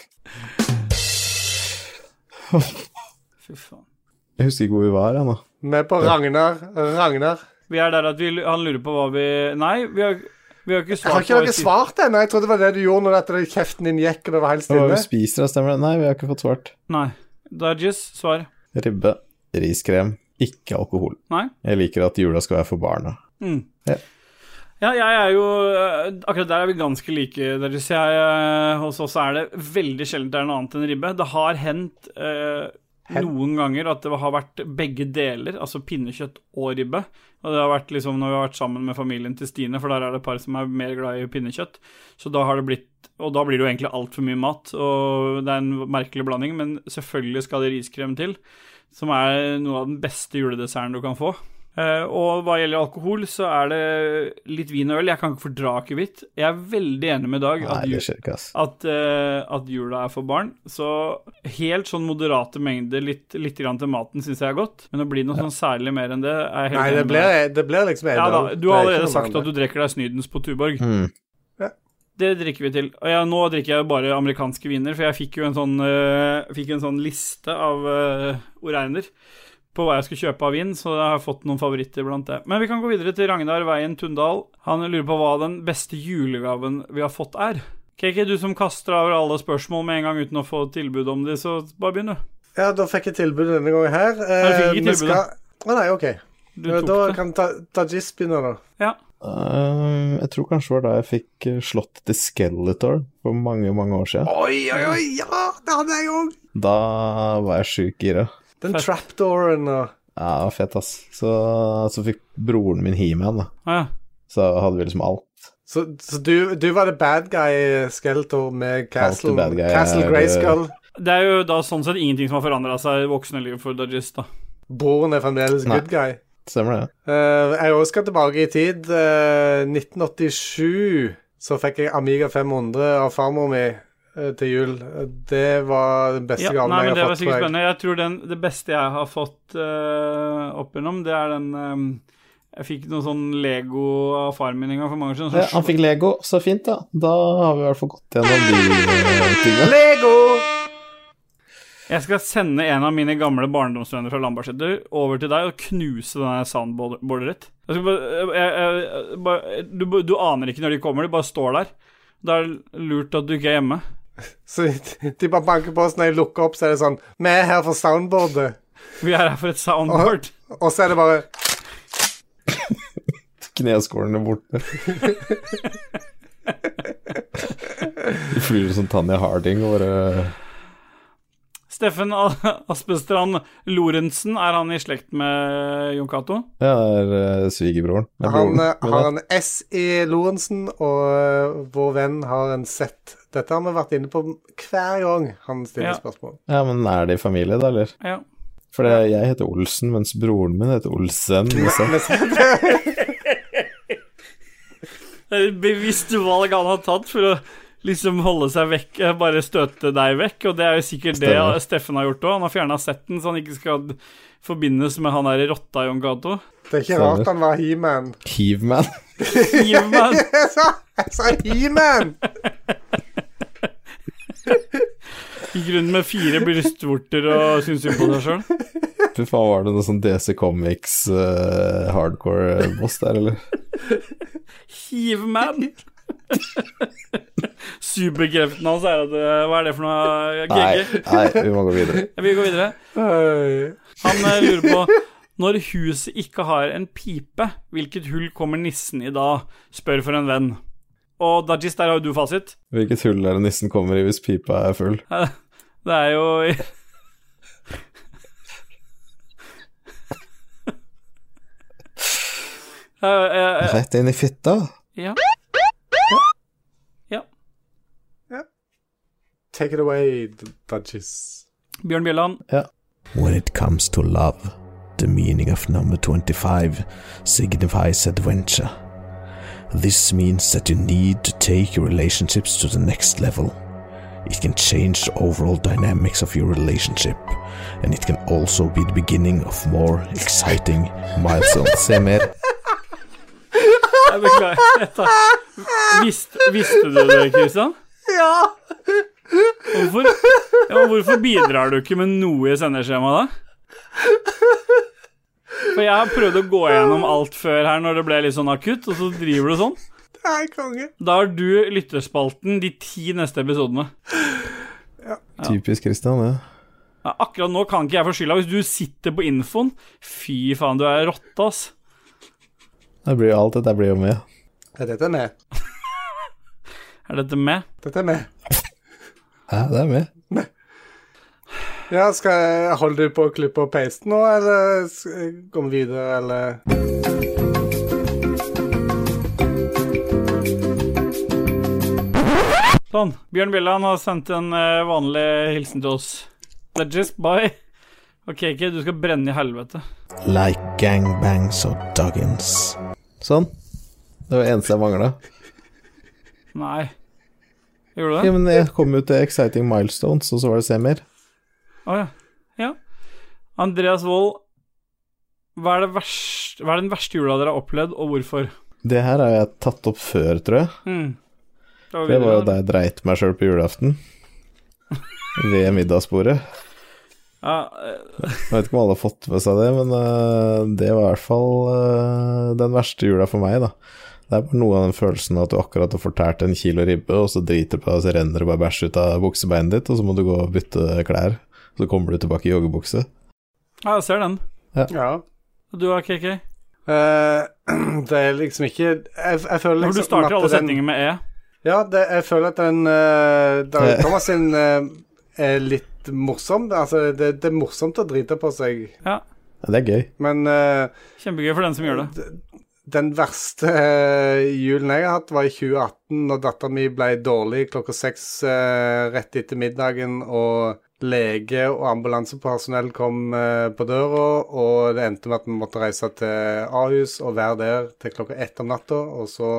S1: Fy faen.
S2: Jeg husker ikke hvor vi var ennå.
S3: Vi er på Ragnar. Ragnar.
S1: Vi er der at vi, han lurer på hva vi Nei, vi har, vi har ikke
S3: Jeg
S1: svart
S3: har ikke
S1: hva vi
S3: noe
S1: sier.
S3: svar til henne. Jeg trodde det var det du gjorde når dette kjeften din gikk, og det var helt
S2: Hva
S3: stille.
S2: vi spiser, da, stemmer det? Nei, vi har ikke fått svart.
S1: Nei. Dodges svar.
S2: Ribbe, riskrem, ikke alkohol.
S1: Nei.
S2: Jeg liker at jula skal være for barna.
S1: Ja, jeg er jo øh, Akkurat der er vi ganske like. Dodges. Jeg, øh, hos oss er det veldig sjelden det er noe annet enn ribbe. Det har hendt øh, noen ganger at det har vært begge deler, altså pinnekjøtt og ribbe. Og det har vært liksom når vi har vært sammen med familien til Stine, for der er det par som er mer glad i pinnekjøtt. Så da har det blitt Og da blir det jo egentlig altfor mye mat, og det er en merkelig blanding, men selvfølgelig skal det riskrem til, som er noe av den beste juledesserten du kan få. Eh, og hva gjelder alkohol, så er det litt vin og øl. Jeg kan ikke fordra akevitt. Jeg er veldig enig med Dag.
S2: Nei,
S1: at
S2: det
S1: jul-
S2: skjer ikke, ass.
S1: at, eh, at jula er for barn. Så helt sånn moderate mengder litt, litt grann til maten syns jeg er godt. Men å bli noe sånn særlig mer enn det er helt
S3: Nei, det
S1: enig med
S3: blir,
S1: deg.
S3: det blir liksom en
S1: ja, da,
S3: øl.
S1: Du har
S3: Det er ikke
S1: allerede
S3: noe
S1: sagt
S3: annet.
S1: at du drikker deg snydens på Tuborg.
S2: Mm.
S1: Det drikker vi til. Og ja, nå drikker jeg bare amerikanske viner, for jeg fikk jo en sånn, eh, fikk en sånn liste av uh, Oreiner på hva jeg skulle kjøpe av vin, så jeg har fått noen favoritter blant det. Men vi kan gå videre til Ragnar Veien Tundal. Han lurer på hva den beste julegaven vi har fått er. KK, du som kaster over alle spørsmål med en gang uten å få tilbud om de, så bare begynn, du.
S3: Ja, da fikk jeg tilbud denne gangen her. Eh,
S1: Nei, du fikk ikke
S3: vi
S1: tilbud,
S3: skal- Å nei, OK.
S1: Du
S3: Ja,
S1: tok
S3: da
S1: det.
S3: kan Ta- Tajis begynne, da.
S1: Ja.
S2: Eh, jeg tror kanskje det var da jeg fikk eh, slått til Skeletor for mange, mange år siden.
S3: Oi, oi, oi, ja! Det hadde jeg òg.
S2: Da var jeg sjukt gira.
S3: Den
S1: Fett.
S3: trapdooren og
S2: Ja, det var fett, ass. Så, så fikk broren min He-Man, da.
S1: Ah, ja.
S2: Så hadde vi liksom alt.
S3: Så, så du, du var det bad guy Skeletor med Castle,
S2: bad guy,
S3: Castle
S2: ja,
S3: Grayskull?
S1: Det er jo da sånn sett ingenting som har forandra seg i voksne liv for Dodges, da.
S3: Broren er fremdeles
S2: Nei.
S3: good guy.
S2: Stemmer det?
S3: Eh, jeg òg skal tilbake i tid. Eh, 1987 så fikk jeg Amiga 500 av farmor mi eh, til jul. Det var den beste
S1: Ja,
S3: gaven
S1: nei, men
S3: jeg
S1: det
S3: har
S1: var
S3: fått.
S1: sikkert
S3: tror jeg.
S1: spennende. Jeg tror den, det beste jeg har fått eh, opp igjennom, det er den eh, Jeg fikk noe sånn Lego av faren min en gang for mange år siden.
S2: Ja,
S1: sånn
S2: han fikk Lego, så fint, da. Da har vi i hvert fall gått gjennom de eh, tingene.
S3: Lego!
S1: Jeg skal sende en av mine gamle barndomsvenner fra Lambertseter over til deg og knuse denne soundboardet ditt. Jeg skal bare- eh, jeg- jeg- jeg- bare- Du, du aner ikke når de kommer, de bare står der. Da er det lurt at du ikke er hjemme.
S3: Så de bare banker på oss når jeg lukker opp, så er det sånn Vi er her for soundboardet.
S1: Vi er her for et soundboard.
S3: Og så er det bare
S2: Kneskålene borte. Du flyr som sånn Tanja Harding og bare
S1: Steffen A- Aspestrand Lorentzen, er han i slekt med Jon Cato?
S2: Ja, det er eh, svigerbroren. Det er
S3: Han
S2: broren.
S3: eh,
S2: Men
S3: har en S i Lorentzen, og eh, vår venn har en Z. Dette har vi vært inne på hver gang han stiller
S1: Ja.
S3: spørsmål.
S2: da- Ja, men er de i familie, da, eller?
S1: Ja.
S2: For det- jeg heter Olsen, mens broren min heter Olsen. Liksom.
S1: Det er et bevisst valg han har tatt for å liksom holde seg vekk, eh, bare støte deg vekk, og det er jo sikkert det
S2: Stemmer.
S1: Steffen har gjort òg. Han har fjerna setten, så han ikke skal forbindes med han der i rotta Jon Cato.
S3: Det er ikke rart han var He-Man.
S2: Heavman.
S1: Hiv meg!
S3: Jeg sa, jeg sa He-Man!
S1: Gikk rundt med fire brystvorter og syntes synd på seg sjøl.
S2: Fy faen, var det noe sånn DC Comics eh, hardcore-boss der, eller?
S1: Hiveman! Superkreften hans er at eh, Hva er det for noe? GG?
S2: Nei, nei, vi må gå videre.
S1: Vi går videre.
S3: Øy.
S1: Han eh, lurer på Når huset ikke har en pipe, hvilket hull kommer nissen i da? Spør for en venn. Og Dajis, der har jo du fasit.
S2: Hvilket hull er det nissen kommer i hvis pipa er full?
S1: Det er jo Eh, eh, eh,
S2: Rett inn i fitta?
S1: Ja. Ja.
S3: Take it away, Dudges.
S1: Bjørn Bjelland.
S5: When it comes to love, the meaning of number 25 signifies adventure. This means that you need to take your relationships to the next level. It can change the overall dynamics of your relationship, and it can also be the beginning of more exciting milestones.
S2: Se mer.
S1: Jeg beklager. Jeg tar. Visste, visste du det, Kristian?
S3: Ja!
S1: Hvorfor, ja, men hvorfor bidrar du ikke med noe i sendeskjemaet, da? For jeg har prøvd å gå gjennom alt før her når det ble litt sånn akutt, og så driver du sånn.
S3: Det er konge.
S1: Da har du lytterspalten de ti neste episodene.
S2: Typisk Christian, det.
S1: Ja, akkurat nå kan ikke jeg få skylda hvis du sitter på infoen. Fy faen, du er rotte, ass.
S2: Det blir alt dette blir jo med.
S3: Ja, dette er med.
S1: Er dette med?
S3: Dette er med.
S2: Ja, det er med.
S3: Ja, skal jeg holde du på å klippe og paste nå, eller s- gå videre, eller
S1: Sånn. Bjørn Bjelland har sendt en eh, vanlig hilsen til oss. That's just bye. OK, ikke, du skal brenne i helvete.
S5: like gangbangs or duggins.
S2: Sånn. Det var det eneste jeg mangla.
S1: Nei. Gjorde du
S2: Ja,
S1: det?
S2: men jeg kom jo til Exciting Milestones, og så var det se mer.
S1: Å ja. ja. Andreas Wold, hva er, det verste, hva er den verste jula dere har opplevd, og hvorfor?
S2: Det her har jeg tatt opp før, tror jeg.
S1: Hmm. Det
S2: Det var jo da jeg dreit meg sjøl på julaften. Ved middagsbordet.
S1: Ja, eh,
S2: Jeg vet ikke om alle har eh, fått med seg det, men øh, det var i hvert fall øh, den verste jula for meg, da. Det er bare noe av den følelsen at du akkurat har fortært en kilo ribbe, og så driter du på deg, og så renner det bare bæsj ut av buksebeinet ditt, og så må du gå og bytte klær. Så kommer du tilbake i joggebukse.
S1: Ja, jeg ser den.
S3: Ja.
S1: Og Du da, KK?
S3: Eh, det er liksom ikke Jeg, jeg føler
S1: Når
S3: liksom
S1: du starter alle
S3: at den-
S1: setninger med E.
S3: Ja, det, jeg føler at den eh, Dag Thomas sin eh, er litt morsom. Altså, det, det er morsomt å drite på seg,
S2: Ja, det er gøy.
S3: men eh,
S1: Kjempegøy for den som gjør det.
S3: d- den verste eh, julen jeg har hatt, var i 2018, når dattera mi ble dårlig klokka seks eh, rett etter middagen, og lege og ambulansepersonell kom eh, på døra, og det endte med at vi måtte reise til Ahus og være der til klokka ett om natta, og så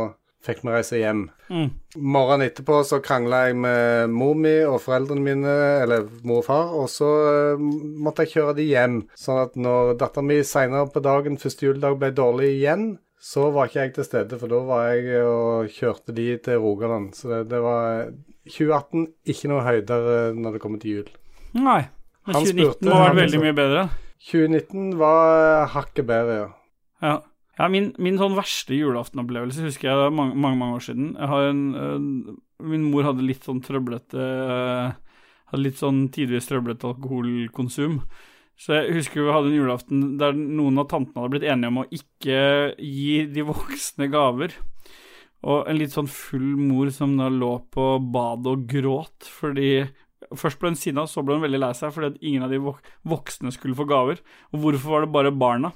S3: fikk vi reise hjem.
S1: Mm.
S3: Morgenen etterpå så krangla jeg med mor mi og foreldrene mine, eller mor og far, og så eh, måtte jeg kjøre de hjem. Sånn at når dattera mi seinere på dagen, første juledag, ble dårlig igjen, så var ikke jeg til stede, for da var jeg og kjørte de til Rogaland. Så det, det var 2018 ikke noe høydere når det kommer til jul.
S1: Nei. Men
S3: Han
S1: 2019
S3: spurte,
S1: må ha
S3: han
S1: vært veldig
S3: liksom.
S1: mye bedre.
S3: 2019 var hakket bedre, ja.
S1: Ja. ja min, min sånn verste julaftenopplevelse husker jeg mange, mange, mange år siden. Jeg har en, eh, min mor hadde litt sånn trøblete eh, Hadde litt sånn tidvis trøblete alkoholkonsum. Så jeg husker vi hadde en julaften der noen av tantene hadde blitt enige om å ikke gi de voksne gaver. Og en litt sånn full mor som da lå på badet og gråt fordi Først ble hun sinna, så ble hun veldig lei seg fordi at ingen av de vok voksne skulle få gaver. Og hvorfor var det bare barna?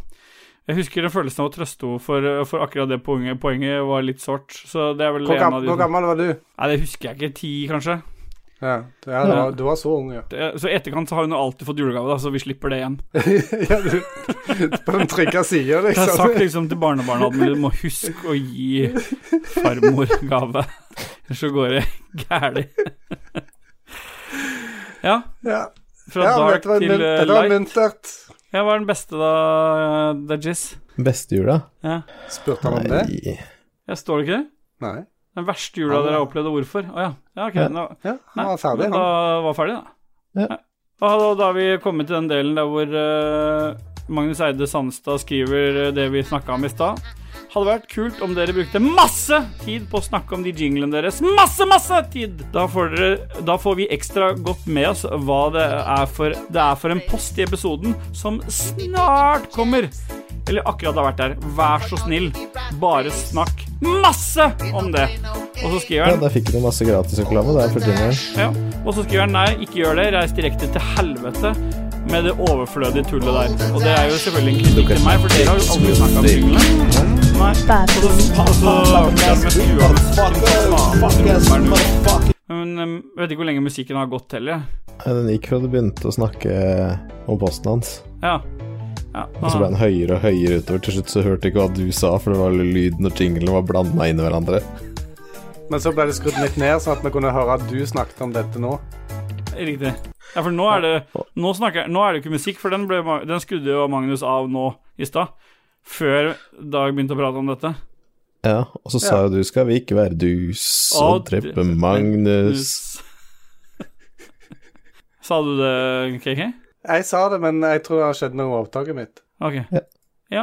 S1: Jeg husker den følelsen av å trøste henne, for, for akkurat det poenget, poenget var litt sårt. Så det er vel
S3: Hvor,
S1: en
S3: gam,
S1: av de
S3: hvor
S1: som-
S3: gammel var du?
S1: Nei, det husker jeg ikke. Ti, kanskje.
S3: Ja, ja du, var, du var så ung, ja.
S1: Det- Så i etterkant så har hun jo alltid fått julegave, da, så vi slipper det igjen.
S3: ja du, på den trygge sida,
S1: Jeg har
S3: liksom.
S1: sagt liksom til barnebarna at du må huske å gi farmor gave, ellers så går det gærent. Ja,
S3: Ja.
S1: fra
S3: ja,
S1: dark
S3: dette var,
S1: til
S3: mun-
S1: eh,
S3: dette var
S1: light.
S3: muntert.
S1: Ja, hva er den beste, da, eh, Dajis?
S2: Beste jula?
S1: Ja.
S3: Spurte han om det?
S2: Nei.
S1: ja, står det ikke det?
S3: Nei.
S1: Den verste jula dere har opplevd, og hvorfor? Å ja. ja, ok.
S2: Ja.
S1: Da,
S3: Ja,
S1: nei,
S3: han var ferdig,
S1: men
S3: han.
S1: Da var ferdig, da.
S2: Ja.
S1: Da, da, da har vi kommet til den delen der hvor eh, Magnus Eide Sandstad skriver eh, det vi snakka om i stad. Hadde vært kult om dere brukte masse tid på å snakke om de jinglene deres. Masse, masse tid! Da får, dere, da får vi ekstra godt med oss hva det er for Det er for en post i episoden som snart kommer. Eller akkurat har vært der. Vær så snill, bare snakk masse om det. Og så skriver
S2: Ja,
S1: han
S2: der fikk du masse gratisreklame der for jingeren.
S1: ja. Og så skriver han nei, ikke gjør det, reis direkte til helvete med det overflødige tullet der. Og det er jo selvfølgelig en kritikk til meg, for dere har jo aldri snakket om jinglene. Nei. Og så- og så- ja, men skru av musikken. Men em, jeg vet ikke hvor lenge musikken har gått heller. jeg.
S2: Ja, Den gikk fra du begynte å snakke om posten hans,
S1: Ja. ja.
S2: og så ble den høyere og høyere utover. Til slutt så hørte jeg ikke hva du sa, for det var lyden og jinglen var blanda inn i hverandre.
S3: Men så ble det skrudd litt ned, sånn at vi kunne høre at du snakket om dette nå.
S1: Riktig. Ja, for nå er det Nå, snakker, nå er det ikke musikk, for den, ble, Ma- den skrudde jo Magnus av nå i stad. Før Dag begynte å prate om dette.
S2: Ja, og så sa jo du skal vi ikke være dus og
S1: Og
S2: drepe
S1: drepe
S2: Magnus.
S1: Sa du det, KK?
S3: Jeg sa det, men jeg tror det har skjedd noe med opptaket mitt.
S1: Ok.
S2: Ja.
S1: Ja.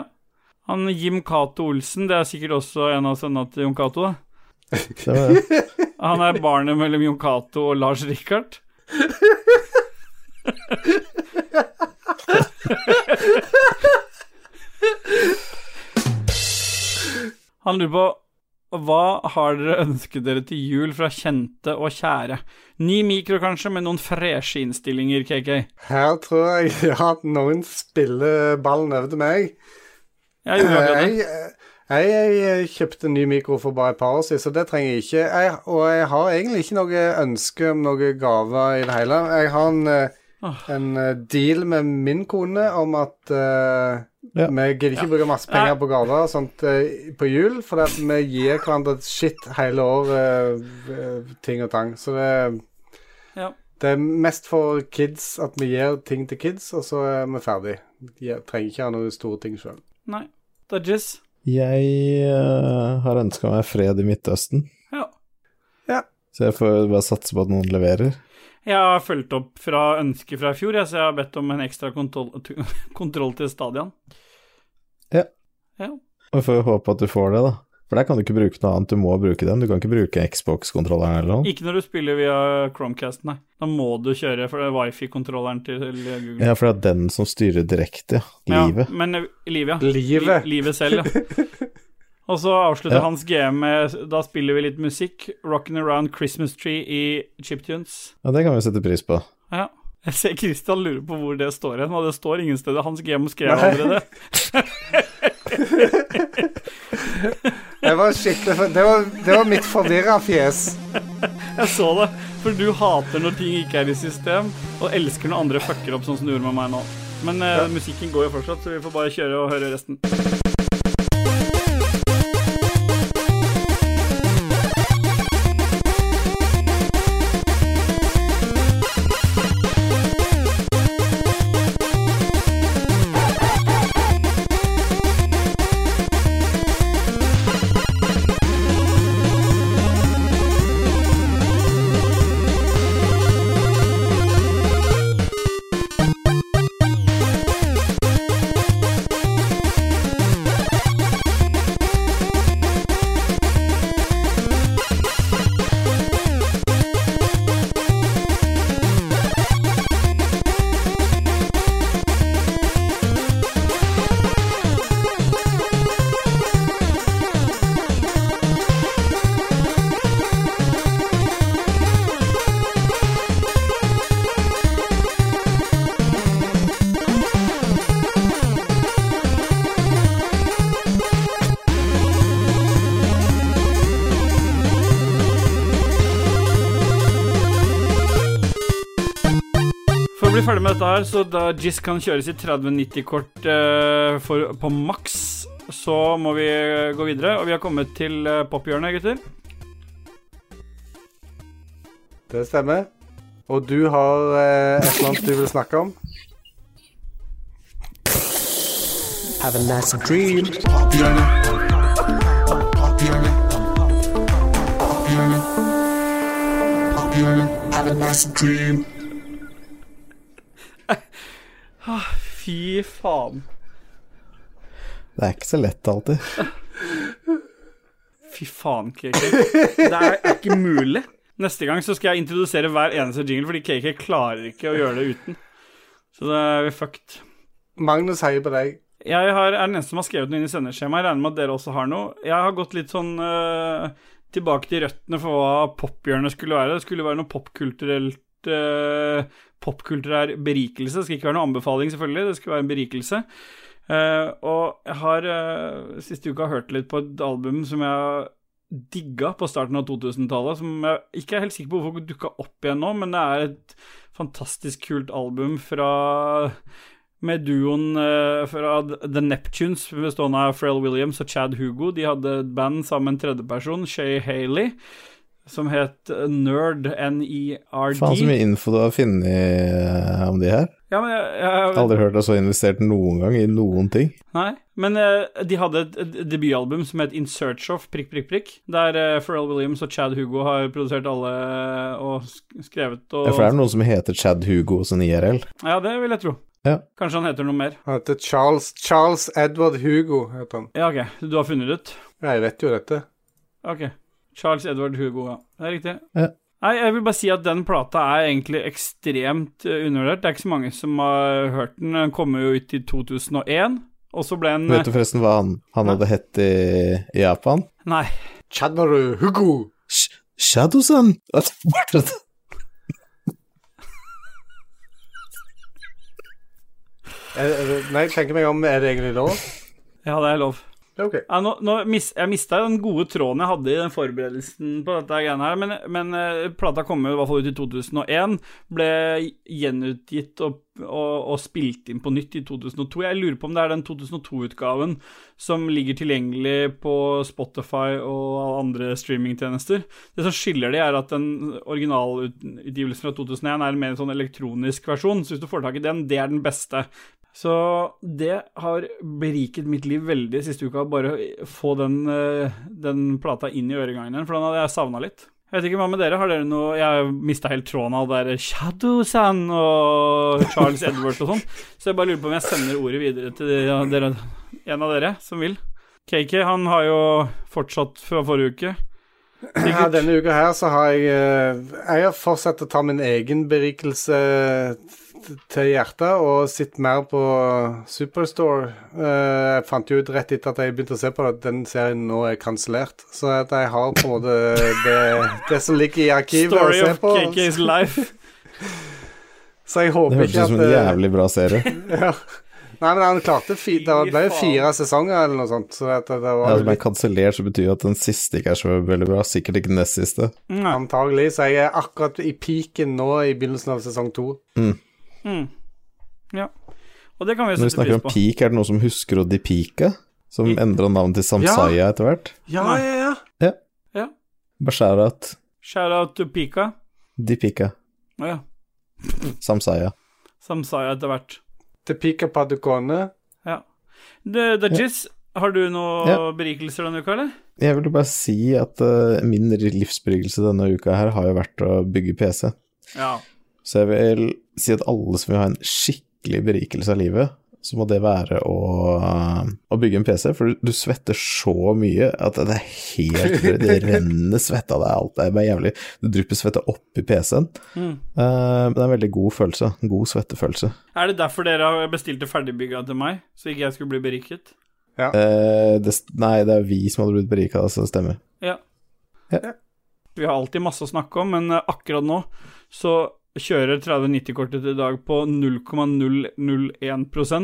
S1: Han Jim Cato Olsen, det er sikkert også en av sønnene til Jon Cato, da.
S2: Det var det.
S1: Han er barnet mellom Jon Cato og Lars Rikard. Han lurer på hva har dere ønsket dere til jul fra kjente og kjære? Ni mikro, kanskje, med noen freshe innstillinger, KK.
S3: Her tror jeg at noen spiller ballen over til meg.
S1: Jeg gjorde akkurat det.
S3: Eh, Jeg, eh, jeg, jeg kjøpte en ny mikro for bare et par år siden, så det trenger jeg ikke. Jeg, og jeg har egentlig ikke noe ønske om noen gaver i det hele. Jeg har en, eh,
S1: Åh.
S3: en eh, deal med min kone om at eh,
S2: Ja.
S3: vi gidder ikke bruke masse penger på gaver og sånt eh, på jul, for at vi gir hverandre shit hele året, eh, ting og tang. Så det,
S1: Ja.
S3: det er mest for kids at vi gir ting til kids, og så er vi ferdig. Jeg trenger ikke ha noen store ting sjøl.
S1: Nei. Dodges.
S2: Jeg eh, har ønska meg fred i Midtøsten,
S1: Ja.
S2: så jeg får bare satse på at noen leverer.
S1: Jeg har fulgt opp fra ønsket fra i fjor, jeg, så jeg har bedt om en ekstra kontroll, kontroll til stadion.
S2: Ja.
S1: Ja.
S2: Og vi får jo håpe at du får det, da. For der kan du ikke bruke noe annet, du må bruke den. Du kan ikke bruke Xbox-kontrolleren eller noe.
S1: Ikke når du spiller via Chromecast, nei. Da må du kjøre for det er wifi-kontrolleren til til Google.
S2: Ja, for det er den som styrer direkte, ja. Livet.
S1: Ja, men eh, livet, ja.
S3: Livet.
S1: Li livet selv, ja. Og så avslutter
S2: Ja.
S1: hans GM med Da spiller vi litt musikk. 'Rockin' Around Christmas Tree' i Chiptunes.
S2: Ja, det kan vi sette pris på.
S1: Ja. Jeg ser Christian lurer på hvor det står hen, og det står ingen steder. Hans GM skrev
S3: Nei.
S1: allerede.
S3: Jeg var skikkelig for- Det var, det var mitt forvirra fjes.
S1: Jeg så det. For du hater når ting ikke er i system, og elsker når andre fucker opp, sånn som du gjorde med meg nå. Men eh, musikken går jo fortsatt, så vi får bare kjøre og høre resten. For å bli ferdig med dette her, så da Jizz kan kjøre sitt 3090-kort eh, for- på maks, så må vi eh, gå videre. Og vi har kommet til eh, pophjørnet, gutter.
S3: Det stemmer. Og du har eh, et eller annet du vil snakke om?
S6: Have a nice dream. Have a nice dream.
S1: Fy faen.
S2: Det er ikke så lett alltid.
S1: Fy faen, KK. Det er ikke mulig. Neste gang så skal jeg introdusere hver eneste jingle, fordi KK klarer ikke å gjøre det uten. Så det er vi fucked.
S3: Magnus heier på deg.
S1: Jeg har, er den eneste som har skrevet noe inn i sendeskjemaet. Jeg regner med at dere også har noe. Jeg har gått litt sånn eh, tilbake til røttene for hva pophjørnet skulle være. Det skulle være noe popkulturelt eh, Popkulturell berikelse. Det skal ikke være noen anbefaling, selvfølgelig. Det skulle være en berikelse. Eh, og jeg har eh, siste uka hørt litt på et album som jeg digga på starten av 2000-tallet, som jeg ikke er helt sikker på hvorfor dukka opp igjen nå, men det er et fantastisk kult album fra med duoen eh, fra The Neptunes, bestående av Pharrell Williams og Chad Hugo. De hadde et band sammen med en tredjeperson, Shay Haley, som het eh, Nerd, E N-E-R-D.
S2: Faen så mye info du har funnet eh, om de her.
S1: Ja, men jeg, jeg,
S2: Aldri hørt deg så investert noen gang i noen ting.
S1: Nei, men eh, de hadde et, et debutalbum som het In Search Of, prikk, prikk, prikk, der eh, Pharrell Williams og Chad Hugo har produsert alle eh, og sk- skrevet og
S2: Ja, for det er noen som heter Chad Hugo sånn IRL.
S1: Ja, det vil jeg tro.
S2: Ja.
S1: Kanskje han heter noe mer.
S3: Han heter Charles, Charles Edward Hugo. heter han.
S1: Ja, OK, du har funnet det ut?
S3: Ja, jeg vet jo dette.
S1: Ok. Charles Edward Hugo, ja. Det er riktig.
S2: Ja.
S1: Nei, jeg vil bare si at den plata er egentlig ekstremt eh, undervurdert. Det er ikke så mange som har hørt den. Den kom jo ut i 2001, og så ble den
S2: Vet du forresten hva han, han hadde hett i, i Japan?
S1: eh, Nei.
S3: Chadmaru Hugo.
S2: Sh Shadow-san! What?
S3: Er, er, det- nei, jeg tenker meg om. Er det egentlig lov?
S1: Ja, det er lov.
S3: Ja, OK.
S1: Ja, nå, nå mis, jeg mista den gode tråden jeg hadde i den forberedelsen på dette greiene her, men, men eh, plata kom jo i hvert fall ut i 2001. Ble gjenutgitt og, og, og spilt inn på nytt i 2002. Jeg lurer på om det er den 2002-utgaven som ligger tilgjengelig på Spotify og alle andre streamingtjenester. Det som skiller de, er at den originalutgivelsen fra 2001 er en mer sånn elektronisk versjon, så hvis du får tak i den, det er den beste. Så det har beriket mitt liv veldig siste uka, bare å få den, eh, den plata inn i øregangen igjen, for den hadde jeg savna litt. Jeg vet ikke hva med dere, har dere noe Jeg mista helt tråden av det der Shadowsan og Charles Edward og sånn, så jeg bare lurer på om jeg sender ordet videre til de- dere, en av dere som vil. Cakey, han har jo fortsatt fra forrige uke.
S3: Ja,
S1: Sikkert.
S3: denne uka her så har jeg eh, Jeg har fortsatt å ta min egen berikelse t- til hjertet og sett mer på Superstore. Eh, Jeg fant jo ut rett etter at jeg begynte å se på det, at den serien nå er kansellert. Så at jeg har på en måte det, det som ligger i arkivet å
S1: Story
S3: se
S1: of
S3: på.
S1: Cakey's life.
S3: Så jeg
S2: Det
S3: håper
S2: hørtes
S3: ikke
S2: ut
S3: at
S2: som en
S3: eh,
S2: jævlig bra serie.
S3: ja. Nei, men han klarte fi, Det ble jo
S1: Fy faen.
S3: fire sesonger eller noe sånt, så at det
S2: Ja,
S3: var
S2: som er kansellert, så betyr jo at den siste ikke er så veldig bra. Sikkert ikke den nest siste.
S1: Nei.
S3: antagelig. Så jeg er akkurat i peaken nå i begynnelsen av sesong to.
S1: Mm. Ja. Og det kan vi
S2: Når vi
S1: sette
S2: snakker
S1: pris
S2: om
S1: på.
S2: peak, er det noen som husker å depike? Som endra navn til Samsaya etter hvert?
S3: Ja,
S1: Nei.
S3: ja, ja.
S2: Basharat
S1: Shout-out to Pika.
S2: depika
S1: Å ja.
S2: Samsaya.
S1: Som sa jeg etter hvert.
S3: Til Pika Padukone.
S1: Du, Dajis, har du noen
S2: Ja.
S1: berikelser denne uka, eller?
S2: Jeg ville bare si at eh, min livsberigelse denne uka her har jo vært å bygge PC.
S1: Ja.
S2: Så jeg vil si at alle som vil ha en skikkelig berikelse av livet, så må det være å, eh, å bygge en PC, for du, du svetter så mye at det er helt drøyt. Det renner svette av deg, alt det er bare jævlig. Du drypper svette opp i PC-en.
S1: Mm.
S2: Eh, men det er en veldig god følelse. En god svettefølelse.
S1: Er det derfor dere har bestilt det ferdigbygga til meg, så ikke jeg skulle bli beriket?
S2: Eh, det, nei, det er vi som hadde blitt berika, så det stemmer.
S1: Vi har alltid masse å snakke om, men eh, akkurat nå så kjører 3090-kortet til i dag på 0,001 og det er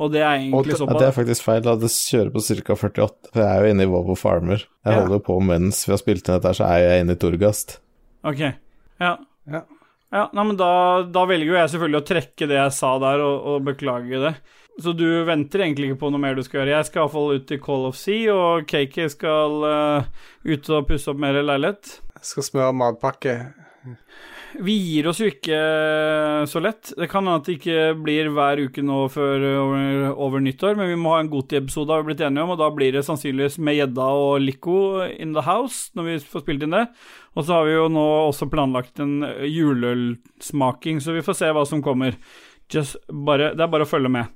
S3: Og det-
S1: egentlig
S2: Ja, det
S1: såpass
S2: er faktisk feil. da. Det kjører på ca. 48. For jeg er jo inne i Volvo Farmer. Jeg
S1: Ja.
S2: holder jo på mens vi har spilt inn dette, her, så er jeg inne i Torgast.
S1: Ok, ja.
S3: Ja.
S1: Ja, nei, men da, da velger jo jeg selvfølgelig å trekke det jeg sa der, og, og beklage det. Så du venter egentlig ikke på noe mer du skal gjøre. Jeg skal iallfall ut til Call of Sea, og Kaki skal eh, ut og pusse opp mer leilighet.
S3: Skal smøre matpakke.
S1: Vi gir oss jo ikke eh, så lett. Det kan hende at det ikke blir hver uke nå før eh, over, over nyttår, men vi må ha en Goti-episode, har vi blitt enige om, og da blir det sannsynligvis med gjedda og Lico in the house når vi får spilt inn det. Og så har vi jo nå også planlagt en juleølsmaking, så vi får se hva som kommer. Just bare, det er bare å følge med.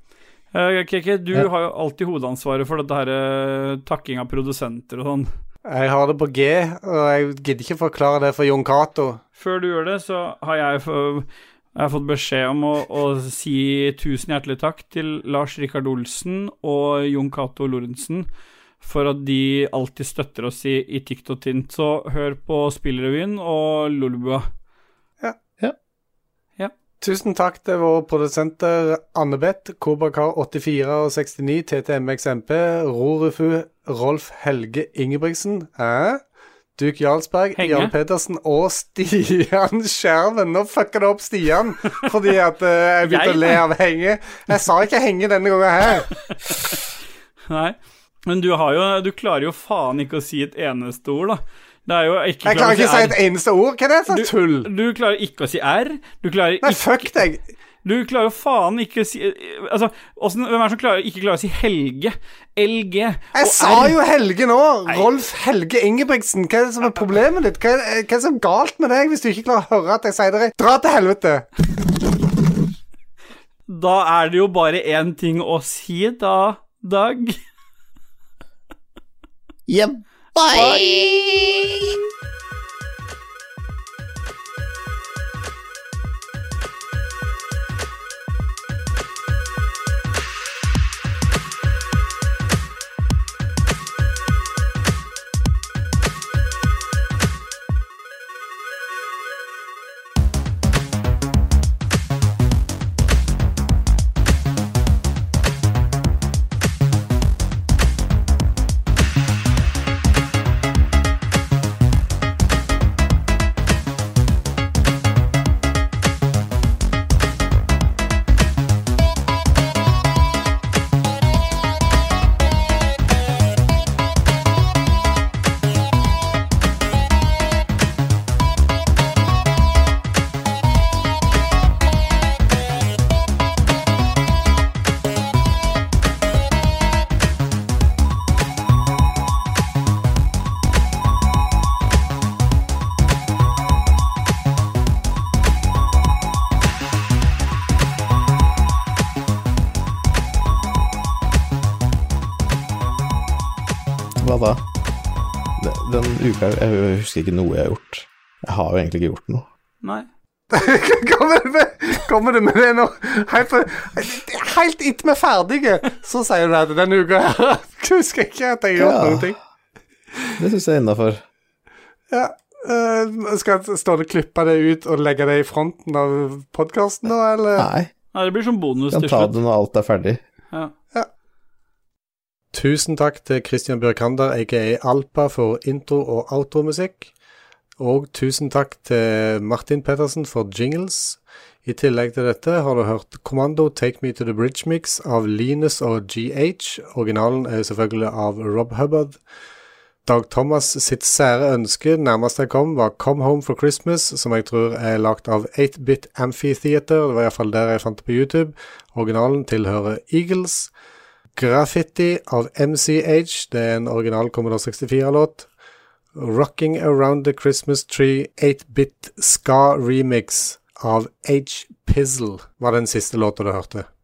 S1: Eh, Keke, du har jo alltid hovedansvaret for dette her eh, takking av produsenter og sånn.
S3: Jeg har det på G, og jeg gidder ikke forklare det for Jon Cato.
S1: Før du gjør det, så har jeg, få- jeg har fått beskjed om å, å si tusen hjertelig takk til Lars Rikard Olsen og Jon Cato Lorentzen for at de alltid støtter oss i, i Tikt og Tint. Så hør på Spillrevyen og Lolbua.
S3: Tusen takk til våre produsenter Anne-Beth, Kobrakar84 og 69, TTMXMP, Rorufu, Rolf Helge Ingebrigtsen, hæ? Duke Jarlsberg,
S1: Henge.
S3: Jan Pedersen og Stian Skjerven. Nå fucker det opp Stian, fordi at eh, jeg begynte
S1: Jeg?
S3: å le av henge. Jeg sa ikke henge denne gangen her.
S1: Nei. Men du, har jo, du klarer jo faen ikke å si et eneste ord, da. Det er jo ikke
S3: Jeg klarer ikke å si
S1: R.
S3: et eneste ord. Hva er det for
S1: Du-
S3: tull?
S1: Du klarer ikke å si R. Du klarer
S3: Nei,
S1: ikke
S3: fuck deg.
S1: Du klarer jo faen ikke å si Altså, hvordan, hvem er det som klarer, ikke klarer å si Helge? LG og
S3: Jeg sa
S1: R?
S3: jo Helge nå! Rolf Helge Ingebrigtsen. Hva er det som er problemet ditt? Hva er, hva er det som er galt med deg hvis du ikke klarer å høre at jeg sier det? rett? Dra til helvete!
S1: Da er det jo bare én ting å si, da, Dag.
S2: uka da Den- Den uka Jeg husker ikke noe jeg har gjort. Jeg har jo egentlig ikke gjort noe.
S1: Nei.
S3: Kommer du med, kommer du med det nå? Helt, på- helt etter vi er ferdige, så sier du at denne uka her husker jeg ikke at jeg har gjort
S2: Ja.
S3: noen ting.
S2: Det syns jeg er innafor.
S3: Ja. eh, skal Ståle klippe det ut og legge det i fronten av podkasten nå, eller?
S2: Nei,
S1: Nei, det blir som bonus
S2: kan
S1: til
S2: ta
S1: slutt.
S2: det når alt er ferdig.
S1: Ja.
S3: Tusen takk til Christian Bjørkander, aka Alpa, for intro- og outromusikk. Og tusen takk til Martin Pettersen for jingles. I tillegg til dette har du hørt Kommando Take Me To The Bridge Mix av Linus og GH. Originalen er jo selvfølgelig av Rob Hubbard. Dag Thomas sitt sære ønske nærmest jeg kom, var Come Home for Christmas, som jeg tror er lagt av 8-Bit Amphitheater. Det var iallfall der jeg fant det på YouTube. Originalen tilhører Eagles. Graffiti av MCH, det er en original Commodore 64-låt. Rocking Around the Christmas Tree 8-bit Ska Remix av H. Pizzle var den siste låta du hørte.